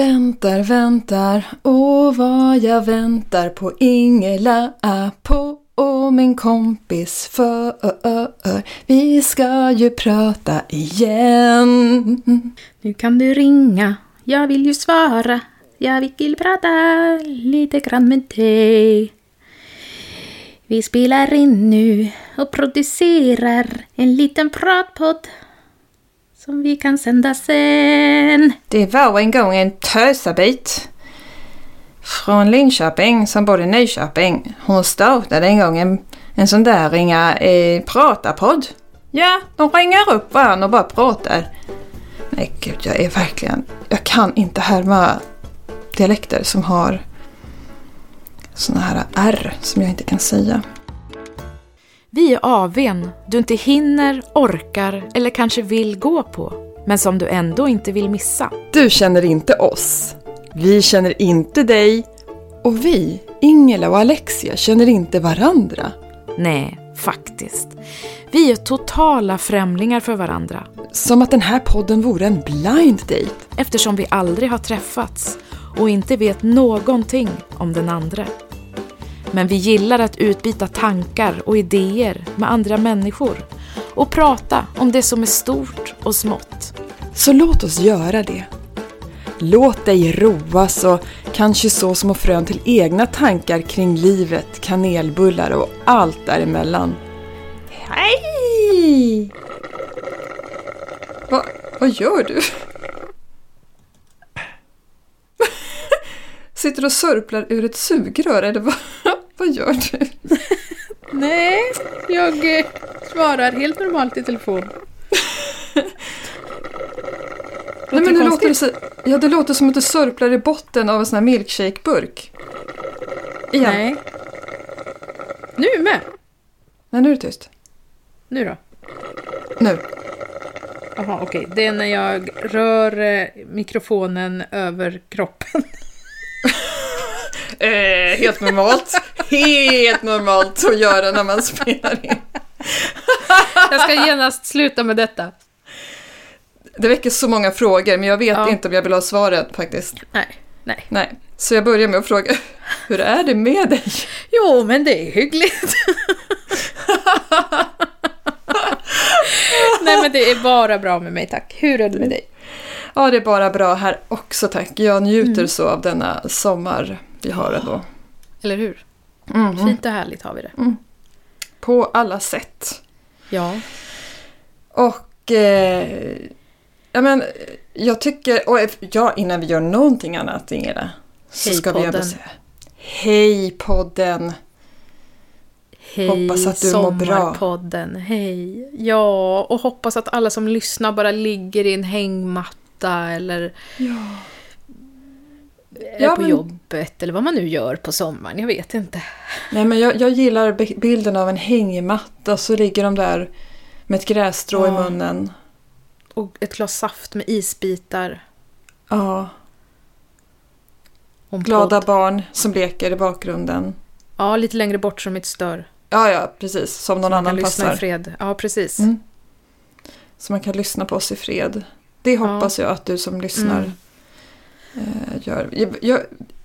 Väntar, väntar, åh vad jag väntar på Ingela, på min kompis, för vi ska ju prata igen. Nu kan du ringa, jag vill ju svara. Jag vill prata lite grann med dig. Vi spelar in nu och producerar en liten pratpodd som vi kan sända sen. Det var en gång en tösabit från Linköping som bodde i Nyköping. Hon startade en gång en, en sån där ringa eh, pratarpodd. Ja, de ringer upp varandra och bara pratar. Nej gud, jag är verkligen... Jag kan inte härma dialekter som har såna här R som jag inte kan säga. Vi är AWn du inte hinner, orkar eller kanske vill gå på, men som du ändå inte vill missa. Du känner inte oss. Vi känner inte dig. Och vi, Ingela och Alexia, känner inte varandra. Nej, faktiskt. Vi är totala främlingar för varandra, Som att den här podden vore en blind date. eftersom vi aldrig har träffats och inte vet någonting om den andra. Men vi gillar att utbyta tankar och idéer med andra människor och prata om det som är stort och smått. Så låt oss göra det. Låt dig roas och kanske så små frön till egna tankar kring livet, kanelbullar och allt däremellan. Hej! Va, vad gör du? Sitter och sörplar ur ett sugrör eller vad, vad gör du? Nej, jag eh, svarar helt normalt i telefon. Nej, men det, konstigt. låter, det så- ja, det låter som att du sörplar i botten av en sån här milkshakeburk. Igen. Nej. Nej. Nu med! Nej, nu är det tyst. Nu då? Nu. Jaha, okej. Det är när jag rör eh, mikrofonen över kroppen. Eh, helt normalt. helt normalt att göra när man spelar in. Jag ska genast sluta med detta. Det väcker så många frågor men jag vet Ja. inte om jag vill ha svaret faktiskt. Nej, nej. Nej. Så jag börjar med att fråga, hur är det med dig? Jo, men det är hyggligt. nej, men det är bara bra med mig, tack. Hur är det med dig? Ja, det är bara bra här också tack. Jag njuter så av denna sommar vi har ändå. Eller hur? Mm. Fint och härligt har vi det. På alla sätt. Ja. Och... Eh, ja, men, jag tycker... Och if- ja, innan vi gör någonting annat, Ingela, så Hej, ska vi ändå podden. säga... Hej podden! Hej, Hoppas att du mår bra. Sommarpodden, hej. Ja, och hoppas att alla som lyssnar bara ligger i en hängmatta eller är Ja, på men- jobbet eller vad man nu gör på sommaren. Jag vet inte. Nej, men jag, jag gillar bi- bilden av en hängmatta så ligger de där med ett grässtrå i Ja. munnen. Och ett glas saft med isbitar. Ja, Och en glada podd. barn som leker i bakgrunden. Ja, lite längre bort som inte stör. Ja, ja, precis. Som någon Man kan annan lyssna i passar. fred. Ja, precis. Mm. Så man kan lyssna på oss i fred. Det hoppas jag att du som lyssnar Mm. eh, gör. Jag, jag,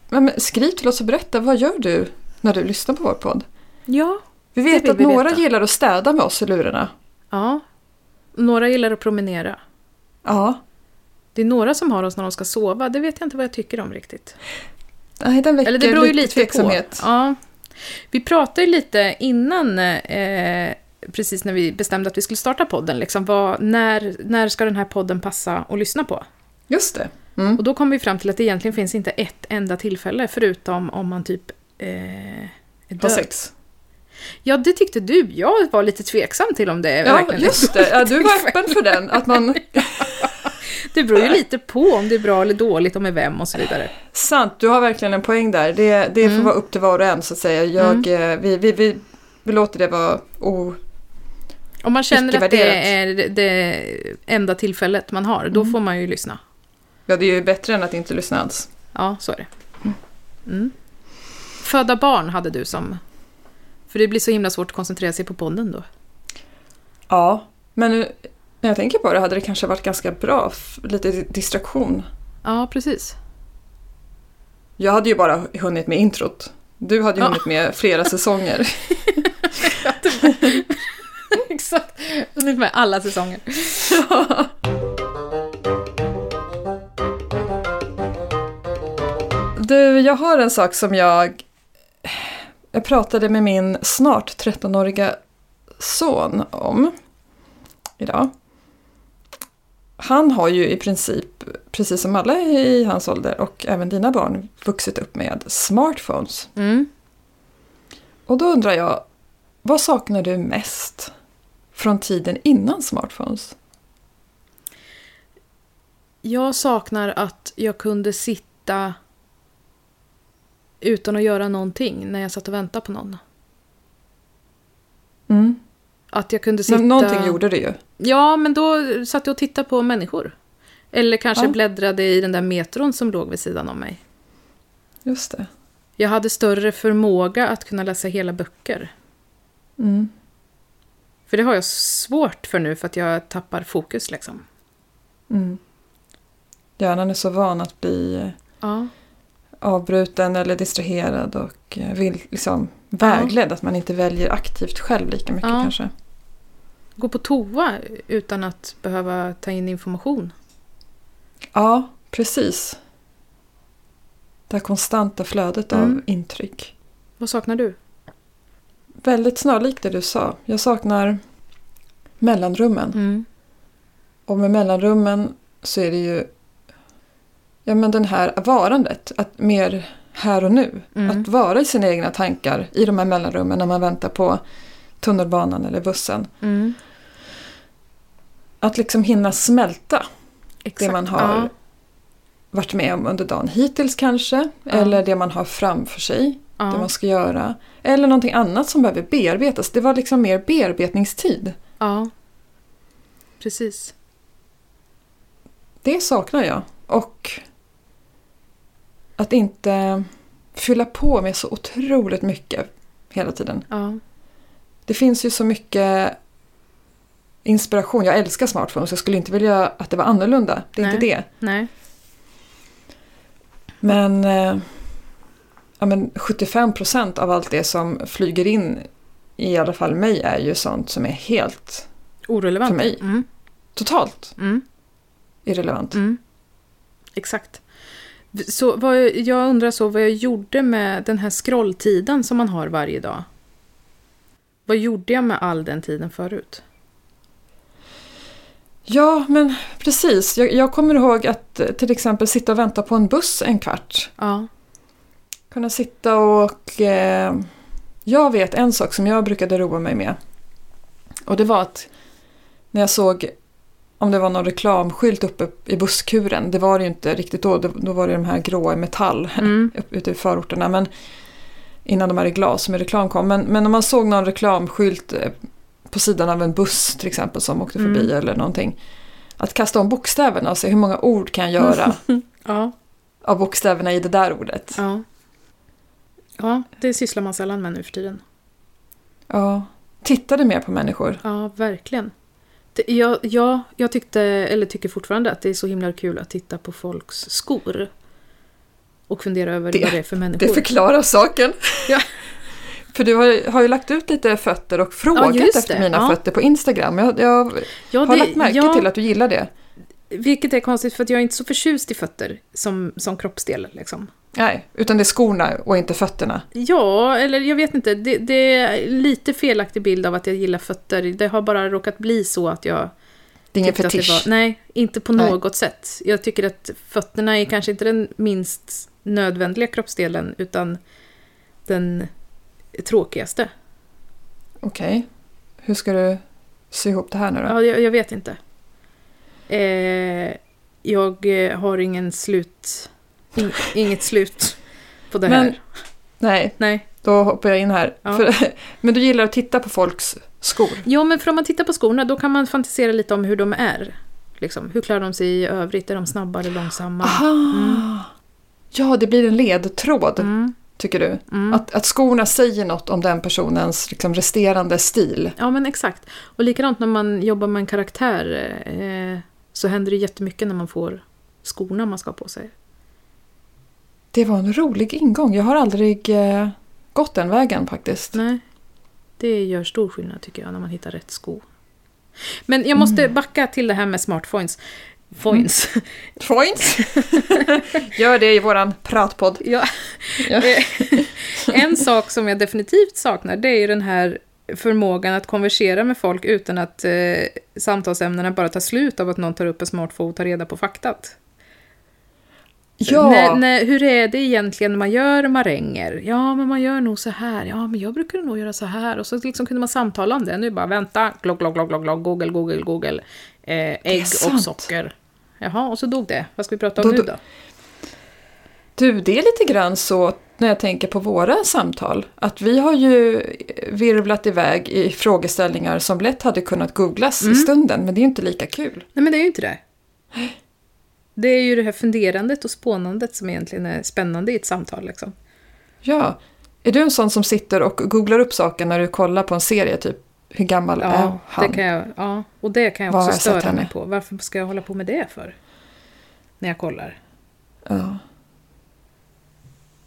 ja, men skriv till oss och berätta, vad gör du när du lyssnar på vår podd? Ja. Vi Det vet vill att vi några veta. gillar att städa med oss i lurarna. ja. Några gillar att promenera. Ja, Det är några som har oss när de ska sova. Det vet jag inte vad jag tycker om riktigt. Nej, den väcker Eller det beror ju lite tveksamhet. på. Ja. Vi pratade ju lite innan, eh, precis när vi bestämde att vi skulle starta podden, liksom, vad, när, när ska den här podden passa att lyssna på? Just det. Mm. Och då kom vi fram till att det egentligen finns inte ett enda tillfälle, förutom om man typ eh, är Har död. sex. Ja, det tyckte du. Jag var lite tveksam till om det är Ja, verkligen just det. Ja, du var öppen för den. Att man, Det beror ju lite på om det är bra eller dåligt och med vem och så vidare. sant, du har verkligen en poäng där. Det, det Mm. får vara upp till var och en så att säga. Jag, eh, vi, vi, vi, vi låter det vara o... Om man känner att det Icke-värderat. är det enda tillfället man har, då får man ju lyssna. Ja, det är ju bättre än att inte lyssna alls. Ja, så är det. Mm. Föda barn hade du som... För det blir så himla svårt att koncentrera sig på podden då. Ja, men nu, när jag tänker på det hade det kanske varit ganska bra, f- lite di- distraktion. Ja, precis. Jag hade ju bara hunnit med introt. Du hade ju Ja. hunnit med flera säsonger. Exakt. Ungefär alla säsonger. Du, jag har en sak som jag... Jag pratade med min snart 13-åriga son om idag. Han har ju i princip, precis som alla i hans ålder och även dina barn, vuxit upp med smartphones. Mm. Och då undrar jag, vad saknar du mest från tiden innan smartphones? Jag saknar att jag kunde sitta utan att göra någonting när jag satt och väntade på någon. Mm. Att jag kunde sitta... Men någonting gjorde du ju. Ja, men då satt jag och tittade på människor. Eller kanske Ja. bläddrade i den där metron som låg vid sidan om mig. Just det. Jag hade större förmåga att kunna läsa hela böcker. Mm. För det har jag svårt för nu för att jag tappar fokus liksom. Mm. Hjärnan är så van att bli eh, Ja. avbruten eller distraherad och eh, vill, liksom, vägledd. Att man inte väljer aktivt själv lika mycket Ja. kanske. Gå på toa utan att behöva ta in information. Ja, precis. Det här konstanta flödet av Mm. intryck. Vad saknar du? Väldigt snarlikt det du sa. Jag saknar mellanrummen. Mm. Och med mellanrummen så är det ju ja, men den här varandet, att mer här och nu. Mm. Att vara i sina egna tankar i de här mellanrummen när man väntar på tunnelbanan eller bussen. Mm. Att liksom hinna smälta Exakt. det man har Ja. varit med om under dagen hittills kanske. Eller det man har framför sig, det Ja. man ska göra. Eller någonting annat som behöver bearbetas. Det var liksom mer bearbetningstid. ja. Precis. Det saknar jag. Och att inte fylla på med så otroligt mycket hela tiden. Ja. Det finns ju så mycket inspiration. Jag älskar smartphones. Jag skulle inte vilja att det var annorlunda. Det är inte Nej. det. Nej. Men, eh, ja, men 75 procent av allt det som flyger in i alla fall mig är ju sånt som är helt Orelevant. För mig. Mm. totalt Mm. irrelevant. Mm. Exakt. Så vad, jag- jag undrar så vad jag gjorde med den här scrolltiden som man har varje dag. Vad gjorde jag med all den tiden förut? Ja, men precis. Jag, jag kommer ihåg att eh, till exempel sitta och vänta på en buss en kvart. Ja. Kunna sitta och... Eh, jag vet en sak som jag brukade roa mig med. Och det var att när jag såg om det var någon reklamskylt uppe i busskuren. Det var det ju inte riktigt då. Då då var det de här gråa i metall Mm. upp- ute i förorterna. Men innan de här i glas med reklam kom. Men, men om man såg någon reklamskylt eh, på sidan av en buss till exempel som åkte förbi Mm. eller någonting. Att kasta om bokstäverna och se hur många ord kan jag göra Ja. av bokstäverna i det där ordet. Ja. Ja, det sysslar man sällan med nu för tiden. Ja. Tittade mer på människor. Ja, verkligen. Det- Jag, ja, jag tyckte, eller tycker fortfarande, att det är så himla kul att titta på folks skor. Och fundera över Det- vad det är för människor. Det förklarar saken. Ja. För du har, har ju lagt ut lite fötter och frågat just efter det. mina Ja. fötter på Instagram. Jag, jag ja, har det- lagt märke ja, till att du gillar det. Vilket är konstigt för att jag är inte så förtjust i fötter som, som kroppsdel. Liksom. Nej, utan det är skorna och inte fötterna. Ja, eller jag vet inte. Det, det är lite felaktig bild av att jag gillar fötter. Det har bara råkat bli så att jag... Det är ingen tyckte att det fetisch. var- Nej, inte på Nej. något sätt. Jag tycker att fötterna är kanske inte den minst nödvändiga kroppsdelen, utan den tråkigaste. Okej. Hur ska du sy ihop det här nu då? Ja, jag, jag vet inte. Eh, jag eh, har ingen slut... In, inget slut på det Men- här. Nej, Nej. då hoppar jag in här. Ja. För, men du gillar att titta på folks skor. Ja, men för om man tittar på skorna, då kan man fantisera lite om hur de är. Liksom, hur klarar de sig i övrigt? Är de snabba eller långsamma? Aha! Ja, det blir en ledtråd, Mm, tycker du. mm. Att, att skorna säger något om den personens liksom, resterande stil. Ja, men exakt. Och likadant när man jobbar med en karaktär eh, så händer det jättemycket när man får skorna man ska ha på sig. Det var en rolig ingång. Jag har aldrig eh, gått den vägen faktiskt. Nej. Det gör stor skillnad tycker jag när man hittar rätt sko. Men jag måste backa till det här med smartphones. Foins. Points! Gör det i våran pratpodd. Ja. Ja. en sak som jag definitivt saknar det är ju den här förmågan att konversera med folk utan att eh, samtalsämnena bara tar slut av att någon tar upp en smartphone och tar reda på faktat. Ja, När, när, hur är det egentligen när man gör maränger? Ja, men man gör nog så här. Ja, men jag brukar nog göra så här. Och så liksom kunde man samtala om det. Nu bara vänta, glogg, glogg, glogg, glogg, glogg, google, google, google. Eh, ägg och sant. socker. Jaha, och så dog det. Vad ska vi prata om Då- nu då- då? du det är lite grann så när jag tänker på våra samtal. Att vi har ju eh, virvlat iväg i frågeställningar som lätt hade kunnat googlas Mm. i stunden. Men det är ju inte lika kul. Nej, men det är ju inte det. Det är ju det här funderandet och spånandet som egentligen är spännande i ett samtal. Liksom. Ja. Är du en sån som sitter och googlar upp saker när du kollar på en serie? Typ hur gammal är Ja, han? det kan jag, ja, och det kan jag Vad också har jag sett störa henne? mig på. Varför ska jag hålla på med det för? När jag kollar. ja.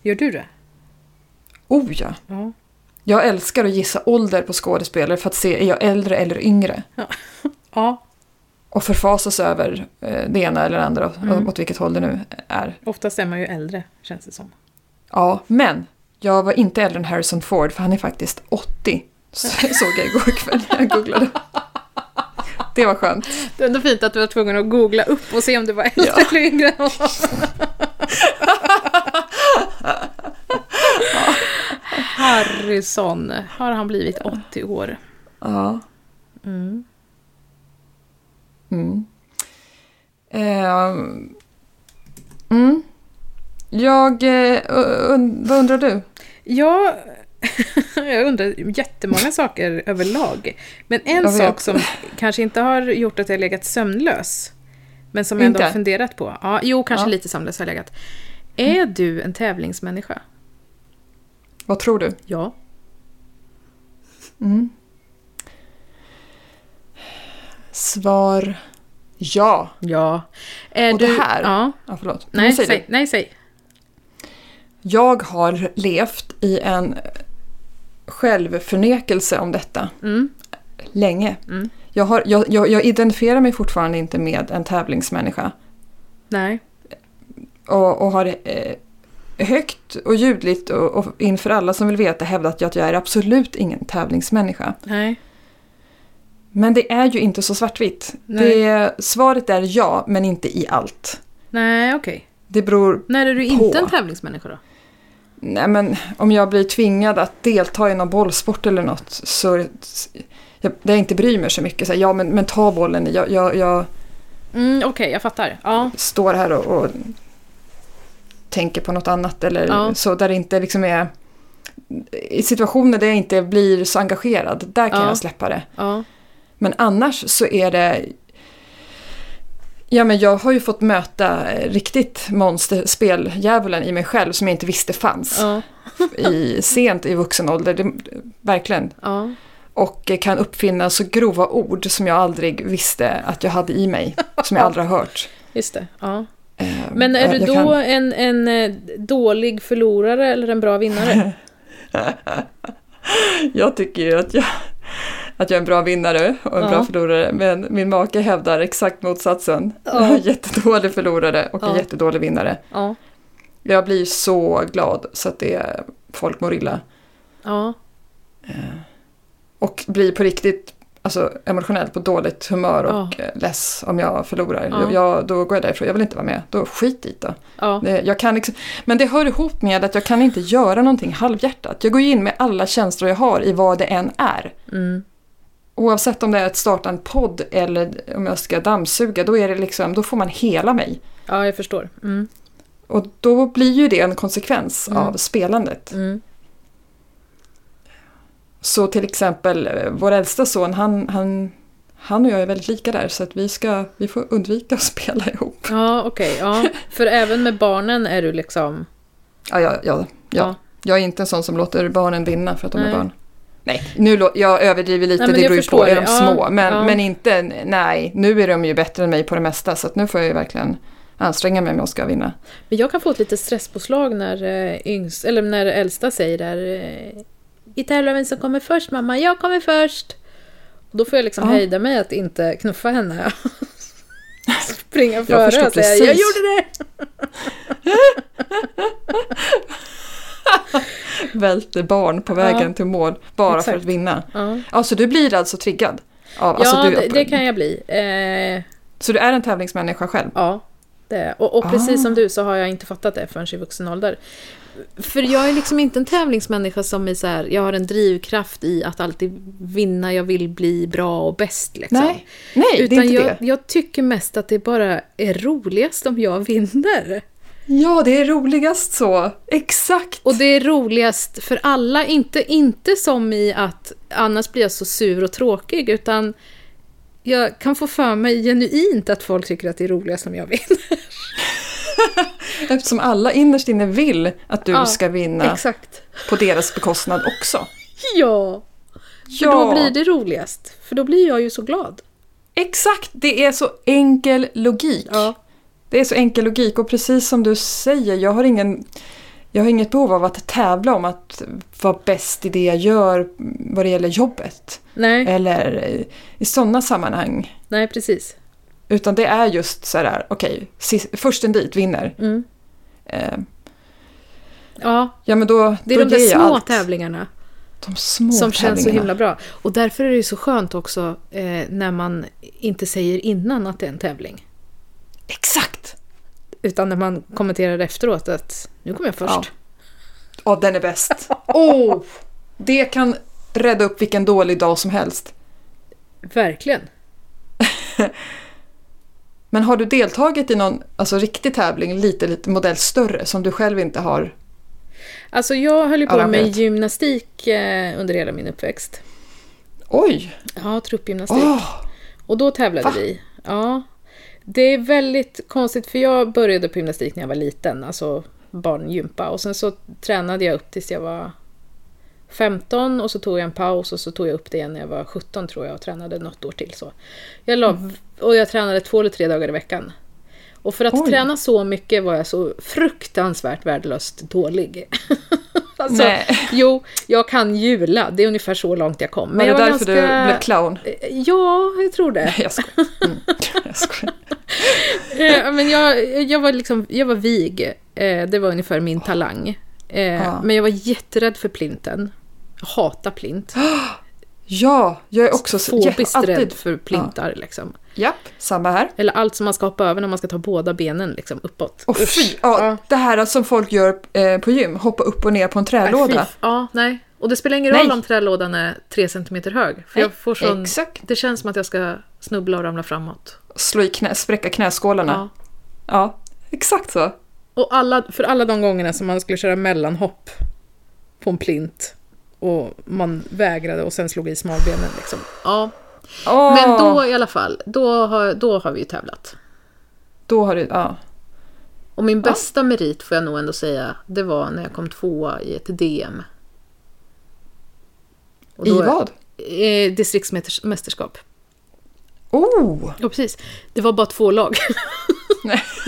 Gör du det? Oh ja. Ja. Jag älskar att gissa ålder på skådespelare för att se är jag äldre eller yngre. Ja, Och förfasas över eh, det ena eller det andra, åt vilket håll det nu är. oftast är man ju äldre, känns det som. Ja, men jag var inte äldre än Harrison Ford för han är faktiskt 80. Så, såg jag igår kväll när jag googlade. Det var skönt. Det är ändå fint att du var tvungen att googla upp och se om det var äldre Ja. eller yngre. Harrison, har han blivit 80 år? Ja. Mm. Ehm, mm. Jag... eh, und- vad undrar du? Ja, jag undrar jättemånga saker överlag. Men en Jag vet. sak som kanske inte har gjort att jag legat sömnlös, men som jag ändå Inte? har funderat på. Ja, jo, kanske Ja. Mm. lite sömnlös har jag legat. Är du en tävlingsmänniska? Vad tror du? Ja. Svar ja. Ja. Är Och du... det här- Ja. Ja, förlåt. Nej, Men säg säg, du. nej, säg. Jag har levt i en självförnekelse om detta Mm. länge. Jag, har, jag, jag, jag identifierar mig fortfarande inte med en tävlingsmänniska Nej. och, och har eh, högt och ljudligt och, och inför alla som vill veta hävdat jag att jag är absolut ingen tävlingsmänniska. Nej. Men det är ju inte så svartvitt. Nej. Det, svaret är ja, men inte i allt. Nej, okej. Det beror När är du På. inte en tävlingsmänniska då? Nej men om jag blir tvingad att delta i någon bollsport eller något så jag, där jag inte bryr mig så mycket. Så här, ja men, men ta bollen, jag, jag, jag Mm, okej, jag fattar. Ja. står här och, och tänker på något annat eller Ja. så där det inte liksom är i situationer där jag inte blir så engagerad, där kan Ja. jag släppa det. ja. Men annars så är det... Ja, men jag har ju fått möta eh, riktigt monster, speldjävulen i mig själv som jag inte visste fanns Ja. i, sent i vuxen ålder. Det, verkligen. Ja. Och eh, kan uppfinna så grova ord som jag aldrig visste att jag hade i mig. Som jag aldrig har hört. Just det. Ja. Eh, Men är jag- du jag då kan- en, en eh, dålig förlorare eller en bra vinnare? Jag tycker ju att jag, att jag är en bra vinnare och en Ja. bra förlorare. Men min make hävdar exakt motsatsen. Ja. Jag är en jättedålig förlorare och en Ja. jättedålig vinnare. ja. Jag blir så glad så att det folk mår illa. ja. Och blir på riktigt alltså, emotionellt på dåligt humör och Ja. ja. less om jag förlorar. Ja. Jag, jag, då går jag därifrån, jag vill inte vara med. Då skit i det. Ja. Det- Jag kan liksom, men det hör ihop med att jag kan inte göra någonting halvhjärtat. Jag går ju in med alla känslor jag har i vad det än är. Mm. Oavsett om det är att starta en podd eller om jag ska dammsuga, då, är det liksom, då får man hela mig. ja, jag förstår. Mm. Och då blir ju det en konsekvens av spelandet. Mm. Så till exempel eh, vår äldsta son, han, han, han och jag är väldigt lika där så att vi, ska, vi får undvika att spela ihop. Ja, okej. Ja. För även med barnen är du liksom... Ja, ja, ja, Ja. ja. Jag är inte en sån som låter barnen vinna för att de Nej. är barn. Nej, nu lå- jag överdriver lite, Nej, men det jag beror ju förstår på, är det. de Ja, små? Men, ja. men inte, nej, nu är de ju bättre än mig på det mesta så att nu får jag ju verkligen anstränga mig om jag ska vinna. Men jag kan få ett litet stresspåslag när, eh, yngst, eller när äldsta säger där eh, Vi tävlar vem som kommer först mamma, jag kommer först! Och då får jag liksom Ja. hejda mig att inte knuffa henne. Springa före och förstår säga precis. jag gjorde det! Välter barn på vägen Ja. till mål bara Exakt. för att vinna. Ja, Ja, så du blir alltså triggad? Av, alltså ja du, det, det kan jag bli. Eh, Så du är en tävlingsmänniska själv? Ja, det är jag. och, och precis Ah. som du så har jag inte fattat det förrän i vuxen ålder. För jag är liksom inte en tävlingsmänniska som är så här, jag har en drivkraft i att alltid vinna, jag vill bli bra och bäst. Liksom. Nej, Nej det är inte jag, det. jag tycker mest att det bara är roligast om jag vinner. Ja, det är roligast så. Exakt! Och det är roligast för alla, inte, inte som i att annars blir jag så sur och tråkig, utan jag kan få för mig genuint att folk tycker att det är roligast om jag vinner. Eftersom alla innerst inne vill att du Ja, ska vinna Exakt. på deras bekostnad också. Ja! För Ja. då blir det roligast. För då blir jag ju så glad. Exakt! Det är så enkel logik. Ja. Det är så enkel logik och precis som du säger, jag har, ingen, jag har inget behov av att tävla om att vara bäst i det jag gör vad det gäller jobbet. Nej, Eller eh, i sådana sammanhang. nej precis. Utan det är just så här, okej, okay, försten dit vinner. Mm. Eh, Ja, ja men då, det är då de där ger jag små allt. tävlingarna De små som känns så tävlingarna. himla bra. Och därför är det ju så skönt också eh, när man inte säger innan att det är en tävling. Exakt! Utan när man kommenterar efteråt att nu kom jag Ja. först. Ja, den är bäst. oh, det kan rädda upp vilken dålig dag som helst. Verkligen. Men har du deltagit i någon alltså, riktig tävling, lite, lite modell större, som du själv inte har? Alltså jag höll ju på Ja, jag med vet. gymnastik eh, under hela min uppväxt. Oj! Ja, truppgymnastik. Åh! Och då tävlade Va? vi. Ja. Det är väldigt konstigt för jag började på gymnastik när jag var liten, alltså barngympa. Och sen så tränade jag upp tills jag var 15 och så tog jag en paus och så tog jag upp det igen när jag var 17 tror jag och tränade något år till. Så. Jag la, Mm. och jag tränade två eller tre dagar i veckan. Och för att Oj. träna så mycket var jag så fruktansvärt värdelöst dålig. alltså, Nej. Jo, jag kan jula, det är ungefär så långt jag kom. Men Var det jag därför du blev ganska- clown? Ja, jag tror det. Eh, Jag skojar. Mm. Jag skojar. Eh, men jag, jag, var liksom, jag var vig, eh, det var ungefär min talang. Eh, Ja. Men jag var jätterädd för plinten. Jag hatar plint. Ja, jag är också så- Fobiskt alltid- rädd för plintar. Liksom. Japp, samma här. Eller allt som man ska hoppa över när man ska ta båda benen liksom, uppåt. Och fy, ja, Ja. det här som folk gör eh, på gym, hoppa upp och ner på en Nej, trälåda. fy. Ja, nej. Och det spelar ingen Nej. roll om trälådan är tre centimeter hög. För jag Nej, får sån, exakt. Det känns som att jag ska snubbla och ramla framåt. Slå i knä, spräcka knäskålarna. Ja. Ja, exakt så. Och alla, för alla de gångerna som man skulle köra mellanhopp på en plint och man vägrade och sen slog i smalbenen. Liksom. Ja. Åh, Men då i alla fall, då har, då har vi ju tävlat. då har du... Ja. Och min bästa merit får jag nog ändå säga, det var när jag kom tvåa i ett DM. Och I då är- vad? Eh, distriktsmästerskap. Oh! Ja, precis. Det var bara två lag.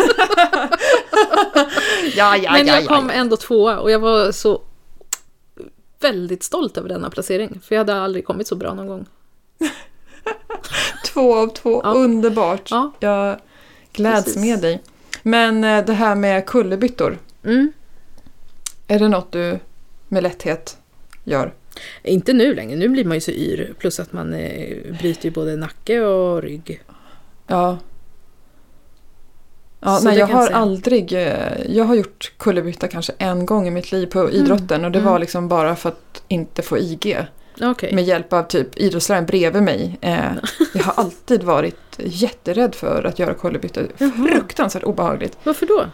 Ja, ja, Men ja, jag ja, kom ja. ändå tvåa och jag var så väldigt stolt över denna placering. För jag hade aldrig kommit så bra någon gång. Två av två, Ja. underbart. Ja. Jag gläds Precis. med dig. Men eh, det här med kullerbyttor, Mm. är det något du med lätthet gör? Inte nu längre, nu blir man ju så yr. Plus att man eh, bryter ju både nacke och rygg. Ja. Ja, Så nej, det jag kan jag har säga. aldrig... eh, Jag har gjort kullerbytta kanske en gång i mitt liv på Mm. idrotten och det var liksom bara för att inte få IG. Okej. Med hjälp av typ idrottsläraren bredvid mig. Eh, jag har alltid varit jätterädd för att göra kullerbyttor. Fruktansvärt obehagligt. Varför då?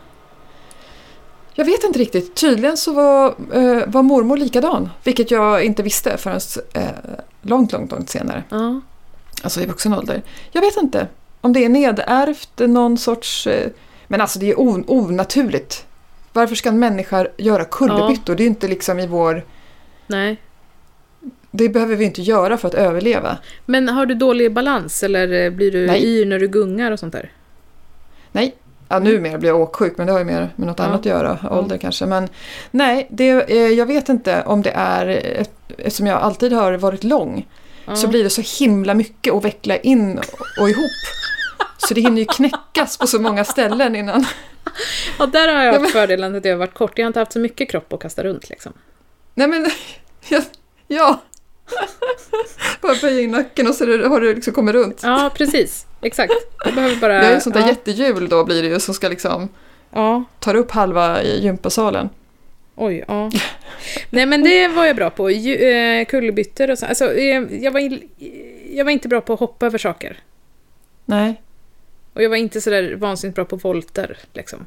Jag vet inte riktigt. Tydligen så var, eh, var mormor likadan. Vilket jag inte visste förrän eh, långt, långt, långt senare. Ja. Alltså i vuxen ålder. Jag vet inte om det är nedärvt, någon sorts... Eh, men alltså det är on- onaturligt. Varför ska en människa göra kullerbyttor? Det är ju inte liksom i vår... Nej. Det behöver vi inte göra för att överleva. Men har du dålig balans eller eh, blir du Nej. yr när du gungar och sånt där? Nej, Ja, numera blir jag åksjuk men det har ju mer med något Mm. Ja. annat att göra, ålder kanske. Men nej, det, eh, jag vet inte om det är, eh, eftersom jag alltid har varit lång, så blir det så himla mycket att veckla in och ihop. Så det hinner ju knäckas på så många ställen innan. Ja, där har jag haft fördelen att jag har varit kort. Jag har inte haft så mycket kropp att kasta runt liksom. Nej men, ja. ja. Bara böja in nacken och så är det- har du liksom kommit runt. Ja, precis. Exakt. Jag behöver bara... Det är ju sånt där ja. jättehjul då blir det ju som ska liksom ja, ta upp halva i gympasalen. Oj, ja. Nej men det var jag bra på. Ju, eh, kullerbyttor och så. Alltså, eh, jag, var in, jag var inte bra på att hoppa över saker. Nej. Och jag var inte sådär vansinnigt bra på volter. Liksom.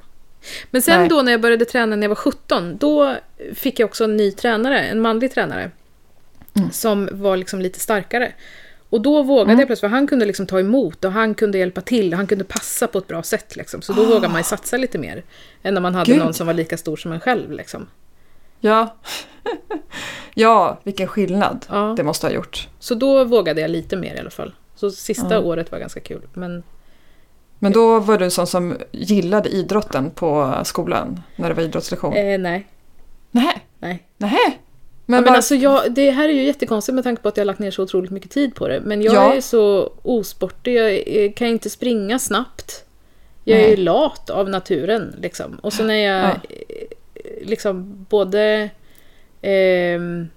Men sen Nej. då när jag började träna när jag var 17, då fick jag också en ny tränare, en manlig tränare. Mm. Som var liksom lite starkare. Och då vågade jag plötsligt, för han kunde liksom ta emot och han kunde hjälpa till och han kunde passa på ett bra sätt. Liksom. Så då vågade man ju satsa lite mer. Än när man hade Ah. Gud. någon som var lika stor som en själv. Liksom. Ja. ja, vilken skillnad Ja. det måste ha gjort. Så då vågade jag lite mer i alla fall. Så sista Ah. året var ganska kul. Men Men då var du en sån som gillade idrotten på skolan när det var idrottslektion? eh, nej, Nej, nej. nej. Men, Men, ja, men bara, alltså jag, det här är ju jättekonstigt med tanke på att jag har lagt ner så otroligt mycket tid på det. Men jag Ja. är så osportig, jag eh, kan inte springa snabbt. Jag är Nej. ju lat av naturen liksom. Och så när jag Ja. eh, liksom både... ehm,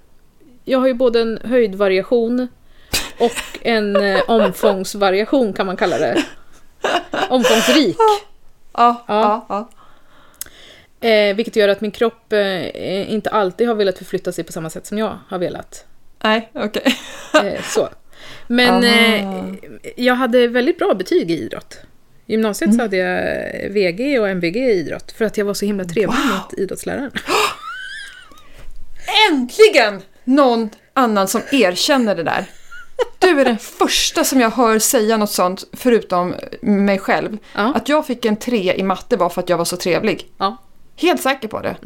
jag har ju både en höjdvariation och en eh, omfångsvariation kan man kalla det. Omfångsrik. ja, Ja. ja, ja. Eh, vilket gör att min kropp eh, inte alltid har velat förflytta sig på samma sätt som jag har velat. Nej, okej. Eh, så. Ah. Men eh, Aha. jag hade väldigt bra betyg i idrott. I gymnasiet Mm. så hade jag VG och MVG i idrott för att jag var så himla trevlig mot idrottsläraren. Äntligen någon annan som erkänner det där. Du är den första som jag hör säga något sånt, förutom mig själv. Ja. Att jag fick en tre i matte var för att jag var så trevlig. Ja. Helt säker på det.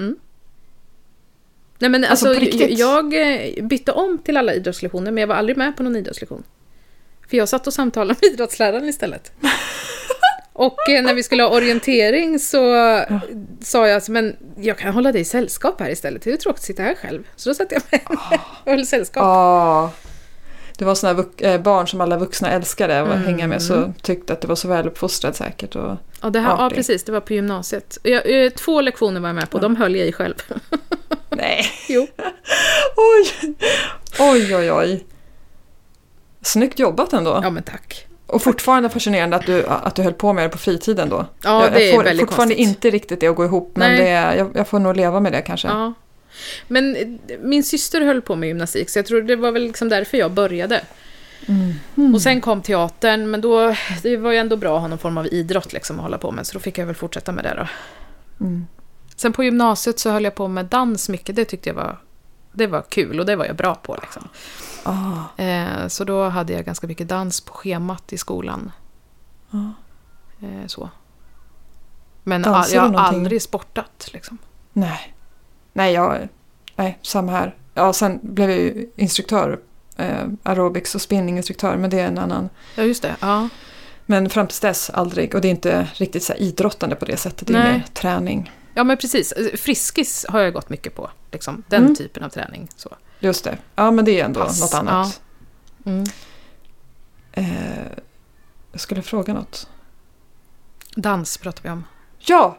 Nej, men Alltså, alltså, på riktigt? jag eh, bytte om till alla idrottslektioner men jag var aldrig med på någon idrottslektion. För jag satt och samtalade med idrottsläraren istället. Och eh, när vi skulle ha orientering så sa jag att men jag kan hålla dig i sällskap här istället. Det är ju tråkigt att sitta här själv. Så då satt jag med Ah. henne och höll sällskap. Ja. Det var sådana vux- eh, barn som alla vuxna älskade att hänga med så tyckte att det var så väluppfostrad säkert. Och... Ja, det här, ja, artig. precis. Det var på gymnasiet. Jag, eh, två lektioner var jag med på. De höll jag i själv. Nej. Jo. Oj. oj, oj, oj. Snyggt jobbat ändå. Ja, men tack. Och fortfarande fascinerande att du, att du höll på med det på fritiden då. Ja, jag, det är jag får väldigt fortfarande konstigt. inte riktigt det att gå ihop, men Nej. det, är- jag, jag får nog leva med det kanske. Ja. Men eh, min syster höll på med gymnastik, så jag tror det var väl liksom därför jag började. Och sen kom teatern, men då, det var ju ändå bra att ha någon form av idrott liksom att hålla på med, så då fick jag väl fortsätta med det då. Mm. Sen på gymnasiet så höll jag på med dans mycket, det tyckte jag var, det var kul och det var jag bra på. Liksom. Ah, Eh, så då hade jag ganska mycket dans på schemat i skolan. Ja. Eh, så. Men Dansar all, du jag har någonting? aldrig sportat liksom. nej. Nej, jag, nej, samma här. Ja, sen blev jag ju instruktör, eh, aerobics och spinninginstruktör, men det är en annan. Ja, just det. Ja. Men fram tills dess aldrig, och det är inte riktigt så här idrottande på det sättet, det är Nej. mer träning. Ja men precis, Eh, Friskis har jag gått mycket på. Liksom, den Mm. typen av träning. Så. Just det, ja men det är ändå Pass, något annat. Mm. Eh, jag skulle fråga något. Dans pratar vi om. Ja!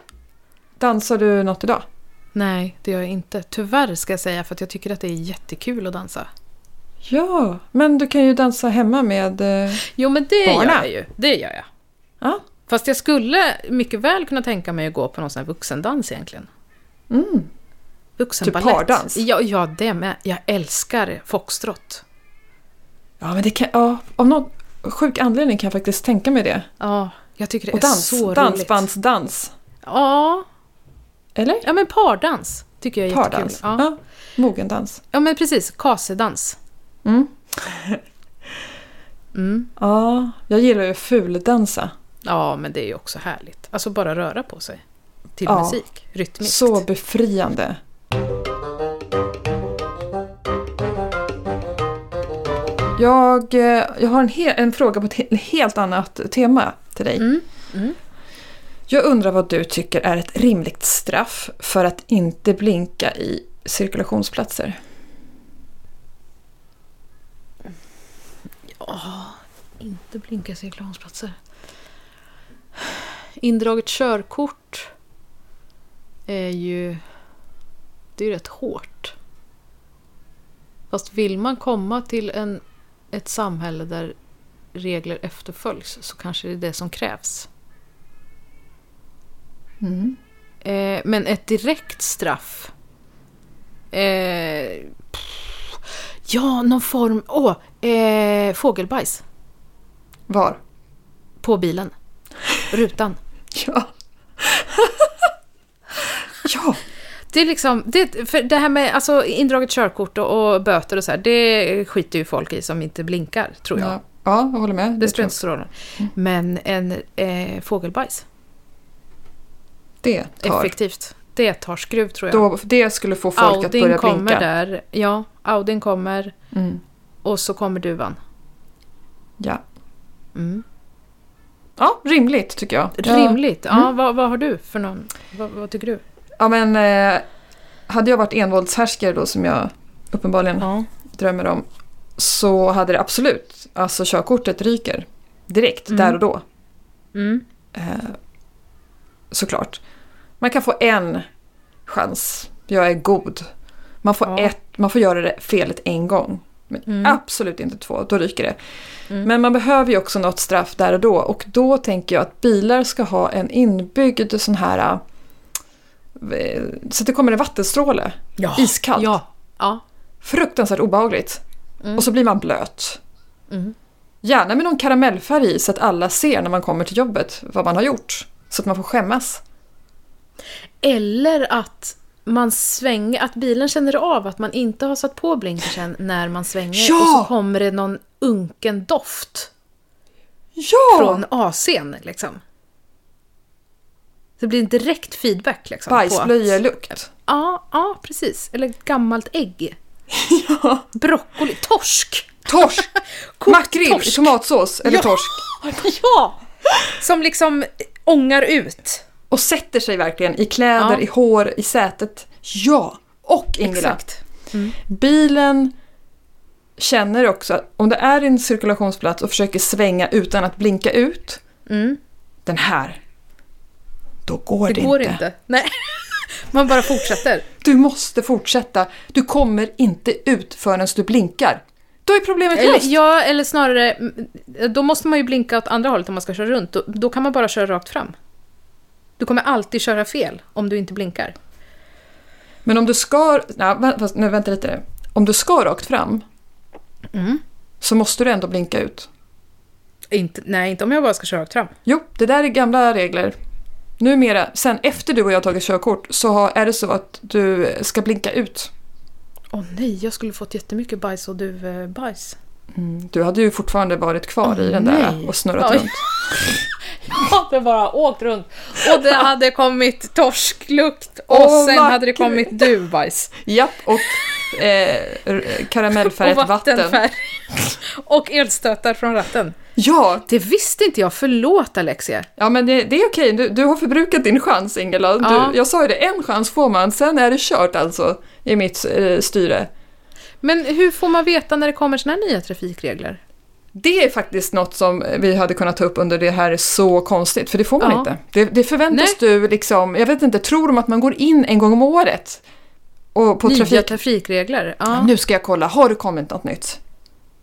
Dansar du något idag? Nej, det gör jag inte. Tyvärr ska jag säga, för att jag tycker att det är jättekul att dansa. Ja, men du kan ju dansa hemma med... eh, Jo men det Barna. gör jag ju. Det gör jag. Ja. Fast jag skulle mycket väl kunna tänka mig att gå på någon sån här vuxendans egentligen. Mm. Vuxenbalett. Typ pardans? Ja, ja, det med. Jag älskar foxtrot. Ja, men det kan... Ja, av någon sjuk anledning kan jag faktiskt tänka mig det. Ja, jag tycker det Och är dans, så roligt. dansbandsdans. Ja, Eller? ja, men pardans tycker jag är Pardans. jättekul. Ja. Ja. Mogendans. ja, men precis. Kasedans. Mm. Mm. Ja, jag gillar ju fuldansa. Ja, men det är ju också härligt. Alltså bara röra på sig. Till Ja. musik, rytmiskt. Så befriande. Jag, eh, jag har en, he- en fråga på ett he- helt annat tema till dig. Mm, mm. Jag undrar vad du tycker är ett rimligt straff för att inte blinka i cirkulationsplatser? Inte blinka i cirkulationsplatser. Indraget körkort är ju... Det är ju rätt hårt. Fast vill man komma till en, ett samhälle där regler efterföljs så kanske det är det som krävs. Eh, men ett direkt straff... Eh, pff, ja, någon form... Åh! eh, fågelbajs Var? på bilen. Rutan. Ja. ja, Det är liksom, det, för det här med alltså, indraget körkort och, och böter och så här, det skiter ju folk i som inte blinkar, tror jag. ja. Ja, jag Mm. håller med. det spelar inte så roll. Men en eh, fågelbajs, Det tar. effektivt. Det tar skruv, tror jag. Då, det skulle få folk att Audin börja kommer blinka. där. Ja, Audin kommer Mm. och så kommer duvan. Ja. Mm. ja, rimligt tycker jag. Rimligt. Ja, Mm. vad, vad har du för någon? Vad, vad tycker du? Ja, men eh, hade jag varit envåldshärskare då som jag uppenbarligen Ja. drömmer om så hade det absolut, alltså körkortet ryker direkt, där och då. Eh, Mm. såklart. Man kan få en chans. Jag är god. Man får, Ja. Mm. ett, man får göra det felet en gång. Men absolut inte två, då ryker det. Men man behöver ju också något straff där och då. Och då tänker jag att bilar ska ha en inbyggd sån här... eh, Så att det kommer en vattenstråle. Iskallt. Ja. ja. Fruktansvärt obehagligt. Mm. Och så blir man blöt. Gärna med någon karamellfärg i så att alla ser när man kommer till jobbet vad man har gjort. Så att man får skämmas. Eller att man svänger, att bilen känner av att man inte har satt på blinkersen när man svänger Ja! och så kommer det någon unken doft Ja! från AC'n liksom. Det blir en direkt feedback liksom. på att- Bajsblöjelukt. Ja, ja, precis. Eller gammalt ägg. Broccoli. Torsk! Torsk! Kokt Makrill i torsk. tomatsås eller Ja. torsk. Ja! Som liksom ångar ut. Och sätter sig verkligen i kläder, Ja. i hår, i sätet. Ja! Och Ingela, Exakt. Mm. bilen känner också att om det är en cirkulationsplats och försöker svänga utan att blinka ut. Mm. Den här. Då går det, Det går inte. inte. Nej. Man bara fortsätter. Du måste fortsätta. Du kommer inte ut förrän du blinkar. Då är problemet Eller, löst. ja, eller snarare, mm, då måste man ju blinka åt andra hållet om man ska köra runt. Då, då kan man bara köra rakt fram. Du kommer alltid köra fel om du inte blinkar. Men om du ska... Nej, vä- fast, nu, vänta lite nu. Om du ska rakt fram Mm. så måste du ändå blinka ut. Inte, nej, inte om jag bara ska köra rakt fram. Jo, det där är gamla regler. Numera, sen efter du och jag har tagit körkort, så har- är det så att du ska blinka ut. Åh nej, jag skulle fått jättemycket bajs och duvbajs. Du hade ju fortfarande varit kvar i den där och snurrat Mm. Oj. runt. Ja, det bara åkt runt. Och det hade kommit torsklukt och Åh, sen vad hade det kul. kommit duvbajs. Japp, och eh, r- karamellfärgat och vatten. vattenfärg. och elstötar från ratten. Ja, Det visste inte jag. Förlåt Alexia. ja, men det, det är okej. Du, du har förbrukat din chans, Ingela. Du, Ja. Jag sa ju det, en chans får man, sen är det kört alltså i mitt eh, styre. Men hur får man veta när det kommer såna här nya trafikregler? Det är faktiskt något som vi hade kunnat ta upp under det här är så konstigt, för det får man Ja. inte. Det, det förväntas du liksom, jag vet inte, tror de att man går in en gång om året? Och på Nya trafik... trafikregler? Ja, Ja. Nu ska jag kolla, har det kommit något nytt?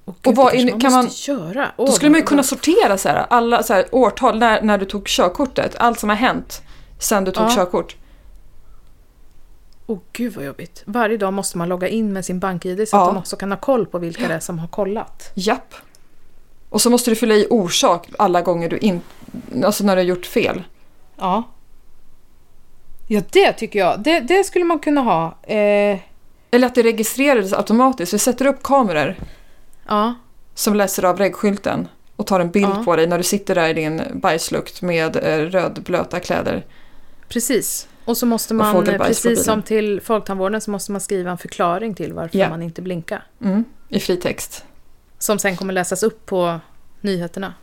Åh, gud, och vad det är- kanske kan man- måste göra. Då skulle man ju kunna sortera så här, alla så här, årtal, när, när du tog körkortet, allt som har hänt sen du tog Ja. körkort. Åh gud vad jobbigt. Varje dag måste man logga in med sin bank-id så Ja. att de också kan ha koll på vilka det är som har kollat. Japp. Och så måste du fylla i orsak alla gånger du in, alltså när du har gjort fel. Ja. Ja, det tycker jag. Det, det skulle man kunna ha. Eh, Eller att det registreras automatiskt, vi sätter upp kameror ja. som läser av regskylten och tar en bild Ja. på dig när du sitter där i din bajslukt med eh, rödblöta kläder. Precis. Och så måste man, eh, fågelbajs på bilen. precis som till Folktandvården, så måste man skriva en förklaring till varför Ja. man inte blinkar. Mm, I fritext. Som sen kommer läsas upp på nyheterna.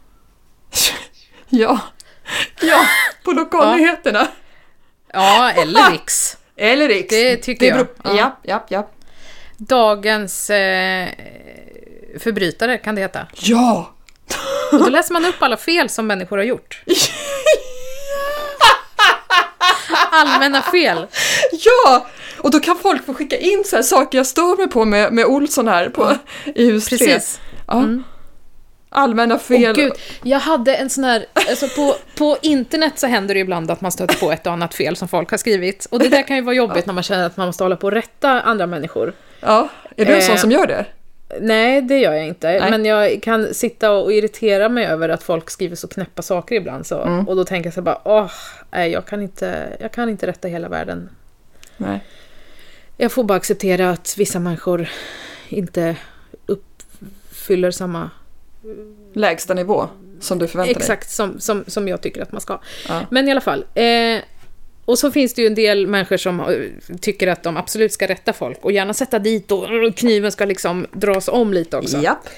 Ja. ja, på lokalnyheterna. Ja, eller Riks. Eller Riks. Det tycker beror- jag. Ja. Ja, ja, ja. Dagens eh, förbrytare kan det heta. Ja! Och då läser man upp alla fel som människor har gjort. Allmänna fel. Ja! Och då kan folk få skicka in så här saker jag stör mig på med, med Olsson här på, i hus 3. Precis. Mm. Ja. Allmänna fel. Åh, gud, jag hade en sån här, alltså på, på internet så händer det ju ibland att man stöter på ett och annat fel som folk har skrivit. Och det där kan ju vara jobbigt när man känner att man måste hålla på och rätta andra människor. Ja, är du en sån Eh. som gör det? Nej, det gör jag inte. Nej. Men jag kan sitta och irritera mig över att folk skriver så knäppa saker ibland. Så. Mm. Och då tänker jag så här bara, åh, nej, jag kan, inte, jag kan inte rätta hela världen. Nej. Jag får bara acceptera att vissa människor inte uppfyller samma Lägsta nivå som du förväntar dig? Exakt, som, som, som jag tycker att man ska. Ja. Men i alla fall. Eh, och så finns det ju en del människor som eh, tycker att de absolut ska rätta folk och gärna sätta dit och eh, kniven ska liksom dras om lite också. Japp.